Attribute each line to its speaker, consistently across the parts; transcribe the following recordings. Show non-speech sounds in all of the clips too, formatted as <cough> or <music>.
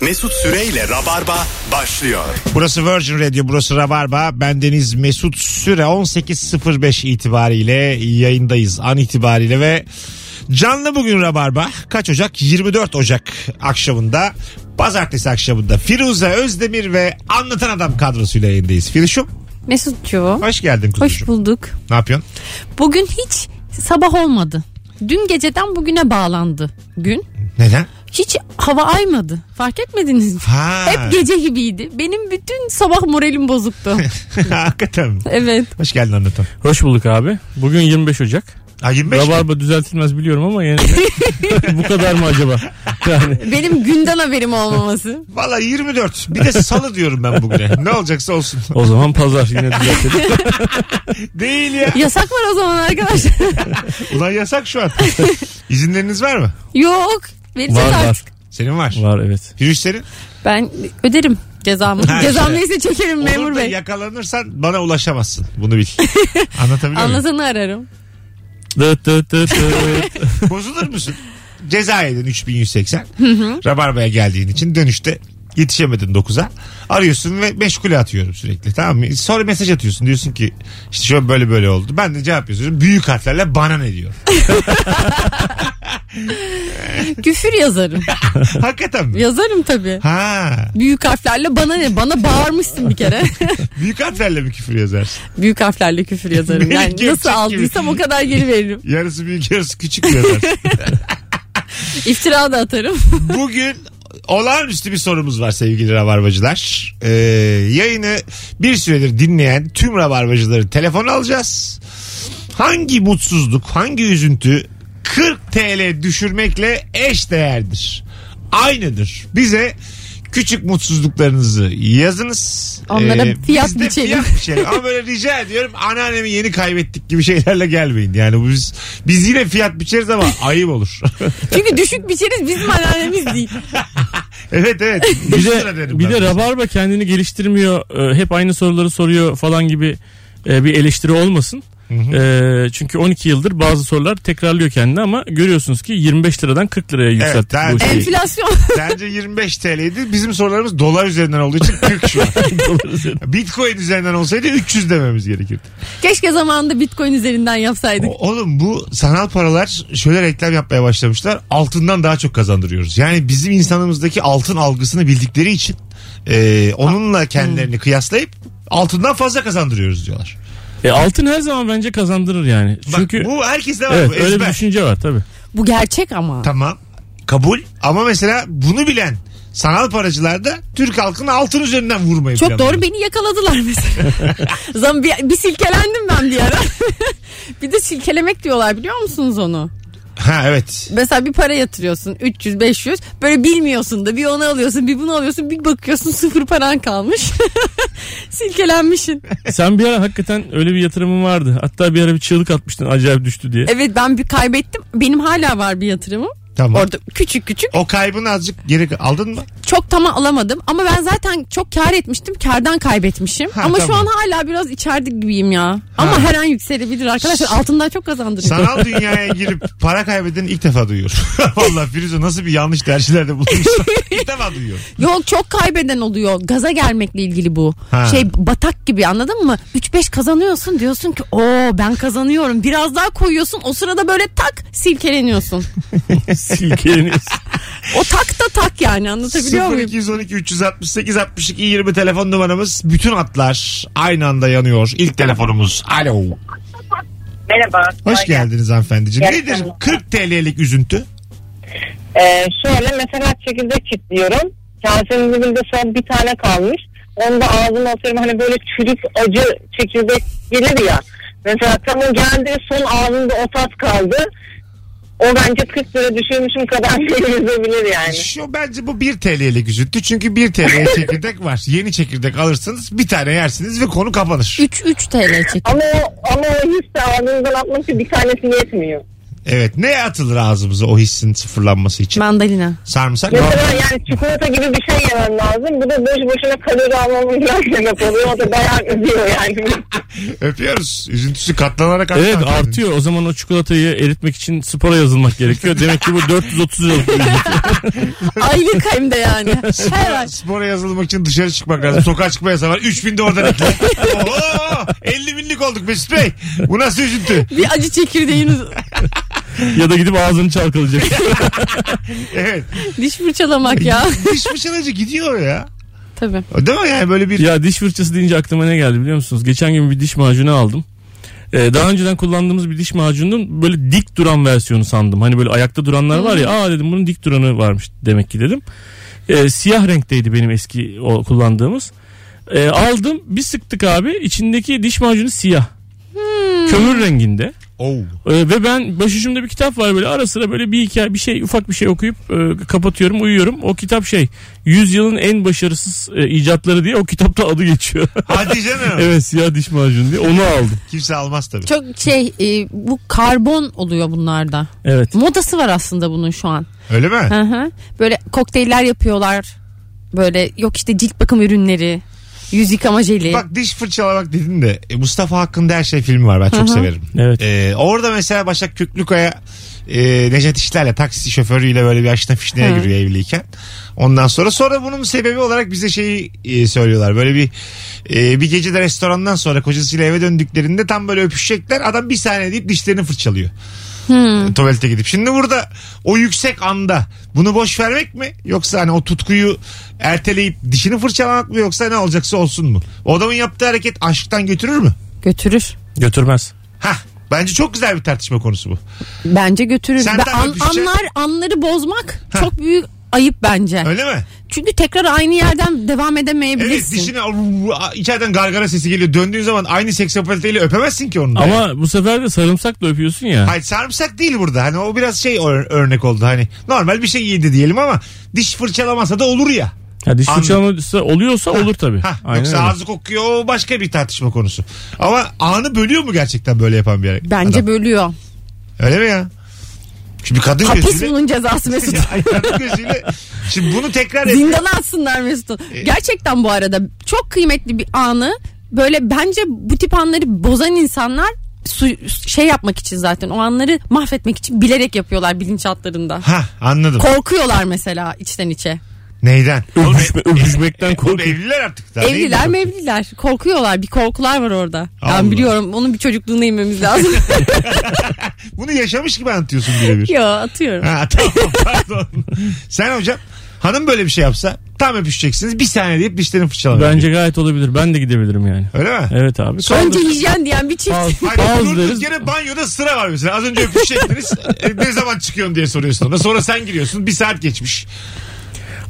Speaker 1: Mesut Süreyle Rabarba başlıyor.
Speaker 2: Burası Virgin Radio, burası Rabarba. Ben Deniz Mesut Süre 18.05 itibariyle yayındayız an itibariyle ve canlı bugün Rabarba. Kaç Ocak? 24 Ocak akşamında pazartesi akşamında Firuze Özdemir ve Anlatan Adam kadrosuyla yayındayız. Firuşum
Speaker 3: Mesutcuğum.
Speaker 2: hoş geldin
Speaker 3: Hoş
Speaker 2: kuzucuğum.
Speaker 3: bulduk.
Speaker 2: Ne yapıyorsun?
Speaker 3: Bugün hiç sabah olmadı. Dün geceden bugüne bağlandı gün.
Speaker 2: Neden?
Speaker 3: Hiç hava aymadı. Fark etmediniz mi?
Speaker 2: Ha.
Speaker 3: Hep gece gibiydi. Benim bütün sabah
Speaker 2: <laughs>
Speaker 3: moralim bozuktu.
Speaker 2: Hakikaten.
Speaker 3: evet.
Speaker 2: Hoş geldin Anlatan.
Speaker 4: Hoş bulduk abi. Bugün 25 Ocak.
Speaker 2: Ha 25 mi?
Speaker 4: Rabarba düzeltilmez biliyorum ama yani <laughs> bu kadar mı acaba? Yani
Speaker 3: Benim günden haberim olmaması.
Speaker 2: Valla 24. Bir de salı diyorum ben bugüne. ne olacaksa olsun. <laughs>
Speaker 4: o zaman pazar yine düzeltelim.
Speaker 2: Değil ya.
Speaker 3: Yasak var o zaman arkadaşlar. <laughs>
Speaker 2: Ulan yasak şu an. İzinleriniz var mı?
Speaker 3: Yok. Vereceğiz
Speaker 4: var var.
Speaker 3: artık.
Speaker 2: Senin var.
Speaker 4: Var evet.
Speaker 2: Firuş senin?
Speaker 3: Ben öderim cezamı.
Speaker 2: Ha,
Speaker 3: Cezam
Speaker 2: işte.
Speaker 3: neyse çekerim
Speaker 2: Olur
Speaker 3: memur
Speaker 2: da
Speaker 3: bey.
Speaker 2: yakalanırsan bana ulaşamazsın. Bunu
Speaker 3: <laughs>
Speaker 2: bil. Anlatabiliyor muyum?
Speaker 3: Anlatanı ararım.
Speaker 4: Dıt dıt dıt
Speaker 2: <laughs>
Speaker 4: dıt.
Speaker 2: Bozulur musun? Ceza yedin 3180. Rabarba'ya geldiğin için dönüşte yetişemedin 9'a. Arıyorsun ve meşgule atıyorum sürekli tamam mı? Sonra mesaj atıyorsun diyorsun ki işte şöyle böyle böyle oldu. Ben de cevap yazıyorum. Büyük harflerle bana ne
Speaker 3: <laughs>
Speaker 2: diyor.
Speaker 3: Küfür yazarım.
Speaker 2: Hakikaten mi?
Speaker 3: yazarım tabii.
Speaker 2: Ha,
Speaker 3: Büyük harflerle bana ne? Bana bağırmışsın
Speaker 2: <laughs>
Speaker 3: bir kere.
Speaker 2: büyük harflerle mi küfür yazarsın?
Speaker 3: Büyük harflerle
Speaker 2: <laughs>
Speaker 3: küfür yazarım.
Speaker 2: Benim
Speaker 3: Yani
Speaker 2: gerçek
Speaker 3: nasıl
Speaker 2: gibi.
Speaker 3: aldıysam o kadar geri veririm.
Speaker 2: Yarısı büyük yarısı küçük
Speaker 3: <laughs>
Speaker 2: mi yazarsın?
Speaker 3: İftira da atarım. <laughs>
Speaker 2: Bugün olağanüstü bir sorumuz var sevgili rabarbacılar. Ee, yayını bir süredir dinleyen tüm rabarbacıları telefon alacağız. Hangi mutsuzluk, hangi üzüntü 40 TL düşürmekle eş değerdir? Aynıdır. Bize küçük mutsuzluklarınızı yazınız. Ee,
Speaker 3: Onlara fiyat
Speaker 2: biz de
Speaker 3: biçelim.
Speaker 2: fiyat biçelim. Ama böyle rica ediyorum anneannemi yeni kaybettik gibi şeylerle gelmeyin. Yani bu biz biz yine fiyat biçeriz ama ayıp olur.
Speaker 3: Çünkü düşük biçeriz bizim anneannemiz
Speaker 2: <laughs>
Speaker 3: değil.
Speaker 2: evet evet.
Speaker 4: <laughs> bir
Speaker 2: Yüz lira
Speaker 4: de,
Speaker 2: derim
Speaker 4: bir
Speaker 2: ben.
Speaker 4: de Rabarba kendini geliştirmiyor. e, Hep aynı soruları soruyor falan gibi e, bir eleştiri olmasın. E, çünkü 12 yıldır bazı sorular tekrarlıyor kendini ama görüyorsunuz ki 25 liradan 40 liraya yükselttik
Speaker 2: ben-
Speaker 4: bu şeyi.
Speaker 3: Enflasyon. <laughs>
Speaker 2: Bence 25 TL'ydi. Bizim sorularımız dolar üzerinden olduğu için 40
Speaker 4: <laughs>
Speaker 2: şu an. Bitcoin üzerinden olsaydı 300 dememiz gerekirdi.
Speaker 3: Keşke zamanında bitcoin üzerinden
Speaker 4: E
Speaker 3: yapsaydık.
Speaker 2: O- Oğlum bu sanal paralar şöyle reklam yapmaya başlamışlar. Altından daha çok kazandırıyoruz. Yani bizim insanımızdaki altın algısını bildikleri için e, onunla kendilerini
Speaker 4: Hmm.
Speaker 2: kıyaslayıp altından fazla kazandırıyoruz diyorlar.
Speaker 4: E, altın her zaman bence kazandırır yani.
Speaker 2: Bak,
Speaker 4: Çünkü
Speaker 2: bu herkeste var
Speaker 4: Evet
Speaker 2: bu
Speaker 4: öyle bir
Speaker 2: ezber.
Speaker 4: düşünce var tabii.
Speaker 3: Bu gerçek ama.
Speaker 2: Tamam kabul ama mesela bunu bilen sanal paracılarda Türk halkını altın üzerinden vurmayı
Speaker 3: Çok
Speaker 2: planlıyor.
Speaker 3: doğru beni yakaladılar mesela.
Speaker 2: <laughs>
Speaker 3: Zaman bir, bir silkelendim ben bir ara. <laughs> bir de silkelemek diyorlar biliyor musunuz onu?
Speaker 2: Ha evet.
Speaker 3: Mesela bir para yatırıyorsun 300 500 böyle bilmiyorsun da bir onu alıyorsun bir bunu alıyorsun bir bakıyorsun sıfır paran kalmış. <laughs> Silkelenmişsin.
Speaker 4: Sen bir ara hakikaten öyle bir yatırımın vardı. Hatta bir ara bir çığlık atmıştın acayip düştü diye.
Speaker 3: Evet ben bir kaybettim. Benim hala var bir yatırımım.
Speaker 2: Tamam.
Speaker 3: Orada küçük küçük.
Speaker 2: O kaybını azıcık geri aldın mı?
Speaker 3: Çok tam alamadım ama ben zaten çok kar etmiştim. Kardan kaybetmişim.
Speaker 2: Ha,
Speaker 3: ama şu
Speaker 2: tamam.
Speaker 3: an hala biraz içeride gibiyim ya. Ama her an yükselebilir arkadaşlar. Altından çok kazandırıyor.
Speaker 2: Sanal dünyaya girip para kaybeden ilk defa duyuyorum. <laughs> Valla Firuze nasıl bir yanlış tercihlerde
Speaker 3: <laughs>
Speaker 2: bulunmuşsun. ilk defa duyuyorum.
Speaker 3: Yok çok kaybeden oluyor. Gaza gelmekle ilgili bu.
Speaker 2: Ha.
Speaker 3: Şey batak gibi anladın mı? 3-5 kazanıyorsun diyorsun ki o ben kazanıyorum. Biraz daha koyuyorsun o sırada böyle tak silkeleniyorsun.
Speaker 4: <laughs> Silkeleniyorsun.
Speaker 3: O tak da tak yani anlatabiliyor muyum?
Speaker 2: 0212 368 62 20 telefon numaramız. Bütün atlar aynı anda yanıyor. İlk telefonumuz. Alo.
Speaker 5: Merhaba.
Speaker 2: Hoş
Speaker 5: Kolay gelsin.
Speaker 2: geldiniz hanımefendiciğim.
Speaker 5: Gerçekten
Speaker 2: Nedir
Speaker 5: mi?
Speaker 2: 40 TL'lik üzüntü?
Speaker 5: Ee, şöyle mesela çekirdek kilitliyorum. Kasenin dibinde son bir tane kalmış. Onu da ağzıma atıyorum. Hani böyle çürük acı çekirdek gelir ya. Mesela tam o geldi son ağzımda o tat kaldı. O bence 40 lira düşürmüşüm kadar <laughs> yüzebilir yani.
Speaker 2: Şu bence bu 1 TL'lik üzüntü. Çünkü 1 TL'ye çekirdek var. Yeni çekirdek alırsınız bir tane yersiniz ve konu kapanır.
Speaker 3: 3-3 TL çek.
Speaker 5: Ama o, ama o yüz de ağzınızdan atmak için bir tanesi yetmiyor.
Speaker 2: Evet ne atılır ağzımıza o hissin sıfırlanması için?
Speaker 3: Mandalina.
Speaker 2: Sarımsak mı?
Speaker 5: Mesela yani çikolata gibi bir şey yemem lazım. Bu da boş boşuna kalori almamın <laughs> biraz demek oluyor. O da bayağı üzüyor yani.
Speaker 2: Öpüyoruz. Üzüntüsü katlanarak
Speaker 4: Evet
Speaker 2: artar.
Speaker 4: artıyor. O zaman o çikolatayı eritmek için spora yazılmak gerekiyor. Demek ki bu 430 liralık bir ücret.
Speaker 3: Aylık hem de yani. Şey Her ay.
Speaker 2: Spora yazılmak için dışarı çıkmak lazım. Sokağa çıkma yasağı var. 3000 de oradan ekle. Oho! 50 binlik olduk Mesut Bey. Bu nasıl üzüntü?
Speaker 3: Bir acı çekirdeğini
Speaker 4: ya da gidip ağzını çalkalayacak.
Speaker 2: Evet.
Speaker 3: diş fırçalamak ya.
Speaker 2: Diş fırçalayıcı gidiyor ya.
Speaker 3: Tabii.
Speaker 2: Değil mi yani böyle bir...
Speaker 4: ya diş fırçası deyince aklıma ne geldi biliyor musunuz? Geçen gün bir diş macunu aldım. Ee, daha önceden kullandığımız bir diş macununun böyle dik duran versiyonu sandım. Hani böyle ayakta duranlar var ya. Aa dedim bunun dik duranı varmış demek ki dedim. Ee, siyah renkteydi benim eski o, kullandığımız. Ee, aldım bir sıktık abi. içindeki diş macunu siyah. Kömür renginde.
Speaker 2: Oh.
Speaker 4: Ee, ve ben başucumda bir kitap var böyle ara sıra böyle bir hikaye bir şey ufak bir şey okuyup e, kapatıyorum uyuyorum. O kitap şey yüzyılın en başarısız e, icatları diye o kitapta adı geçiyor. <laughs>
Speaker 2: Hadi canım.
Speaker 4: evet siyah diş macunu diye onu aldım.
Speaker 2: Kimse almaz tabii.
Speaker 3: Çok şey e, bu karbon oluyor bunlarda.
Speaker 4: Evet.
Speaker 3: Modası var aslında bunun şu an.
Speaker 2: Öyle mi?
Speaker 3: Hı hı. Böyle kokteyller yapıyorlar. Böyle yok işte cilt bakım ürünleri. Yüz yıkama jeli.
Speaker 2: Bak diş fırçalamak dedin de e, Mustafa Hakkı'nda her şey filmi var ben çok severim.
Speaker 4: Evet.
Speaker 2: E, orada mesela Başak Küklükaya e, Necdet İşler'le taksi şoförüyle böyle bir aşna fişneye
Speaker 3: Hı.
Speaker 2: giriyor evliyken. Ondan sonra sonra bunun sebebi olarak bize şeyi e, söylüyorlar. Böyle bir e, bir gece de restorandan sonra kocasıyla eve döndüklerinde tam böyle öpüşecekler. Adam bir saniye deyip dişlerini fırçalıyor. E, Tuvalete gidip. Şimdi burada o yüksek anda bunu boş vermek mi? Yoksa hani o tutkuyu erteleyip dişini fırçalamak mı? Yoksa ne olacaksa olsun mu? O adamın yaptığı hareket aşktan götürür mü?
Speaker 3: Götürür.
Speaker 4: Götürmez.
Speaker 2: Hah. Bence çok güzel bir tartışma konusu bu.
Speaker 3: Bence götürür.
Speaker 2: Sen
Speaker 3: Ve
Speaker 2: de
Speaker 3: an-
Speaker 2: öpüşecek-
Speaker 3: anlar anları bozmak
Speaker 2: Heh.
Speaker 3: çok büyük ayıp bence.
Speaker 2: Öyle mi?
Speaker 3: Çünkü tekrar aynı yerden devam
Speaker 2: Evet
Speaker 3: edemeyebilirsin.
Speaker 2: dişine içeriden gargara sesi geliyor. Döndüğün zaman aynı seksapaliteyle öpemezsin ki onu. da.
Speaker 4: Ama bu sefer de sarımsakla öpüyorsun ya.
Speaker 2: Hayır sarımsak değil burada. Hani o biraz şey ör- örnek oldu. Hani normal bir şey yedi diyelim ama diş fırçalamasa da olur ya.
Speaker 4: ya diş
Speaker 2: Anladım.
Speaker 4: fırçalaması oluyorsa olur tabii.
Speaker 2: Hah,
Speaker 4: Aynen
Speaker 2: yoksa
Speaker 4: öyle.
Speaker 2: ağzı kokuyor o başka bir tartışma konusu. Ama anı bölüyor mu gerçekten böyle yapan bir
Speaker 3: Bence
Speaker 2: adam?
Speaker 3: bölüyor.
Speaker 2: Öyle mi ya? Şimdi kadın
Speaker 3: Hapis
Speaker 2: gözüyle...
Speaker 3: bunun
Speaker 2: <laughs>
Speaker 3: cezası <laughs> Mesut.
Speaker 2: Ay, kadın gözüyle... Şimdi bunu tekrar et.
Speaker 3: Zindana atsınlar Mesut'u.
Speaker 2: E.
Speaker 3: Gerçekten bu arada çok kıymetli bir anı böyle bence bu tip anları bozan insanlar su- şey yapmak için zaten o anları mahvetmek için bilerek yapıyorlar bilinçaltlarında.
Speaker 2: Ha anladım.
Speaker 3: Korkuyorlar mesela içten içe.
Speaker 2: Neyden?
Speaker 4: Öpüşme-
Speaker 2: Oğlum, e-
Speaker 4: öpüşmekten
Speaker 2: e-
Speaker 4: korkuyor.
Speaker 2: oğlum Evliler artık. Daha neyin
Speaker 3: Evliler
Speaker 2: korkuyor?
Speaker 3: mevliler korkuyorlar bir korkular var orada.
Speaker 2: Allah.
Speaker 3: Ben biliyorum onun bir çocukluğuna
Speaker 2: <laughs>
Speaker 3: inmemiz lazım.
Speaker 2: Bunu yaşamış gibi anlatıyorsun birebir.
Speaker 3: Yo atıyorum.
Speaker 2: Ha <laughs> tamam pardon. Sen hocam hanım böyle bir şey yapsa tam öpüşeceksiniz bir saniye deyip dişlerini fırçalamıyor.
Speaker 4: Bence gayet olabilir. Ben de gidebilirim yani.
Speaker 2: Öyle mi?
Speaker 4: Evet abi.
Speaker 2: Sonra-
Speaker 3: Önce hijyen diyen bir çift.
Speaker 4: Ağız-
Speaker 2: Hayır,
Speaker 4: ağız
Speaker 2: durduk
Speaker 4: deriz.
Speaker 2: yere banyoda sıra var mesela. Az önce
Speaker 4: <laughs>
Speaker 2: öpüşecektiniz. E, ne zaman çıkıyorsun diye soruyorsun ona. Sonra sen giriyorsun. Bir saat geçmiş.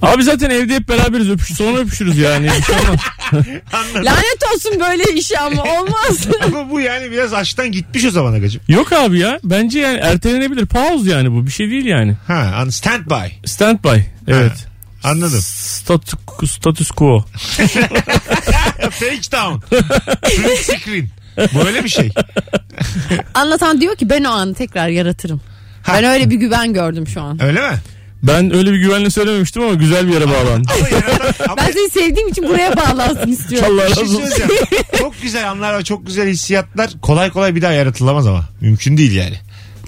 Speaker 4: Abi zaten evde hep beraberiz öpüş. Sonra öpüşürüz <laughs> yani. Bir şey olmaz.
Speaker 3: <laughs> Lanet olsun böyle işe
Speaker 2: <laughs>
Speaker 3: ama olmaz.
Speaker 2: Ama bu yani biraz açtan gitmiş o zaman agacım.
Speaker 4: Yok abi ya. Bence yani ertelenebilir. Pause yani bu. Bir şey değil yani.
Speaker 2: Ha an- stand by.
Speaker 4: Standby. Evet.
Speaker 2: Anladım.
Speaker 4: Status, status quo.
Speaker 2: Take down. Print screen. Böyle bir şey.
Speaker 3: Anlatan diyor ki ben o anı tekrar yaratırım.
Speaker 2: Ha.
Speaker 3: Ben öyle bir güven gördüm şu an.
Speaker 2: Öyle mi?
Speaker 4: Ben öyle bir güvenle söylememiştim ama güzel bir yere
Speaker 2: <laughs>
Speaker 4: bağlandı.
Speaker 2: Ama yaratan- ama-
Speaker 3: Ben seni sevdiğim
Speaker 2: <laughs>
Speaker 3: için buraya bağlansın istiyorum.
Speaker 4: Allah
Speaker 2: Bir şey
Speaker 4: razı olsun.
Speaker 2: söyleyeceğim.
Speaker 4: <laughs>
Speaker 2: çok güzel anlar ve çok güzel hissiyatlar kolay kolay bir daha yaratılamaz ama. Mümkün değil yani.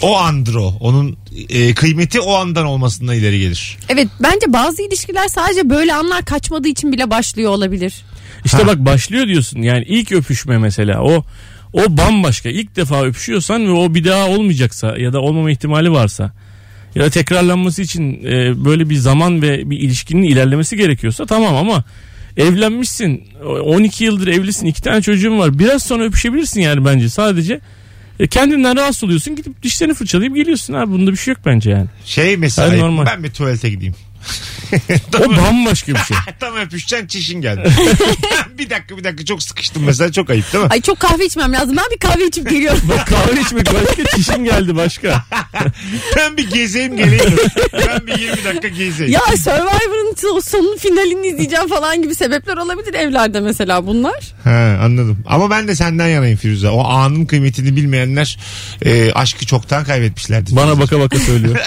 Speaker 2: O andır o. Onun e, kıymeti o andan olmasından ileri gelir.
Speaker 3: Evet bence bazı ilişkiler sadece böyle anlar kaçmadığı için bile başlıyor olabilir.
Speaker 4: İşte bak başlıyor diyorsun. Yani ilk öpüşme mesela o o bambaşka. İlk defa öpüşüyorsan ve o bir daha olmayacaksa ya da olmama ihtimali varsa ya da tekrarlanması için e, böyle bir zaman ve bir ilişkinin ilerlemesi gerekiyorsa tamam ama evlenmişsin. o- 12 yıldır evlisin. iki tane çocuğun var. Biraz sonra öpüşebilirsin yani bence sadece. E, kendinden rahatsız oluyorsun. Gidip dişlerini fırçalayıp geliyorsun abi. Bunda bir şey yok bence yani.
Speaker 2: Şey mesela
Speaker 4: Hayır, normal. <laughs>
Speaker 2: ben bir tuvalete gideyim.
Speaker 4: O bambaşka bir şey.
Speaker 2: Tam öpüşeceksin çişin geldi. <laughs> bir dakika bir dakika çok sıkıştım mesela çok ayıp değil mi?
Speaker 3: Ay çok kahve içmem lazım. Ben bir kahve içip geliyorum.
Speaker 2: <laughs>
Speaker 4: Bak <laughs> kahve içmek başka, çişin geldi başka.
Speaker 2: Ben bir gezeyim geleyim. ben bir 20 dakika gezeyim.
Speaker 3: ya Survivor'ın t- o sonun finalini izleyeceğim falan gibi sebepler olabilir evlerde mesela bunlar.
Speaker 2: He, anladım. Ama ben de senden yanayım Firuze. O anın kıymetini bilmeyenler e, aşkı çoktan kaybetmişlerdi.
Speaker 4: Bana baka baka söylüyor.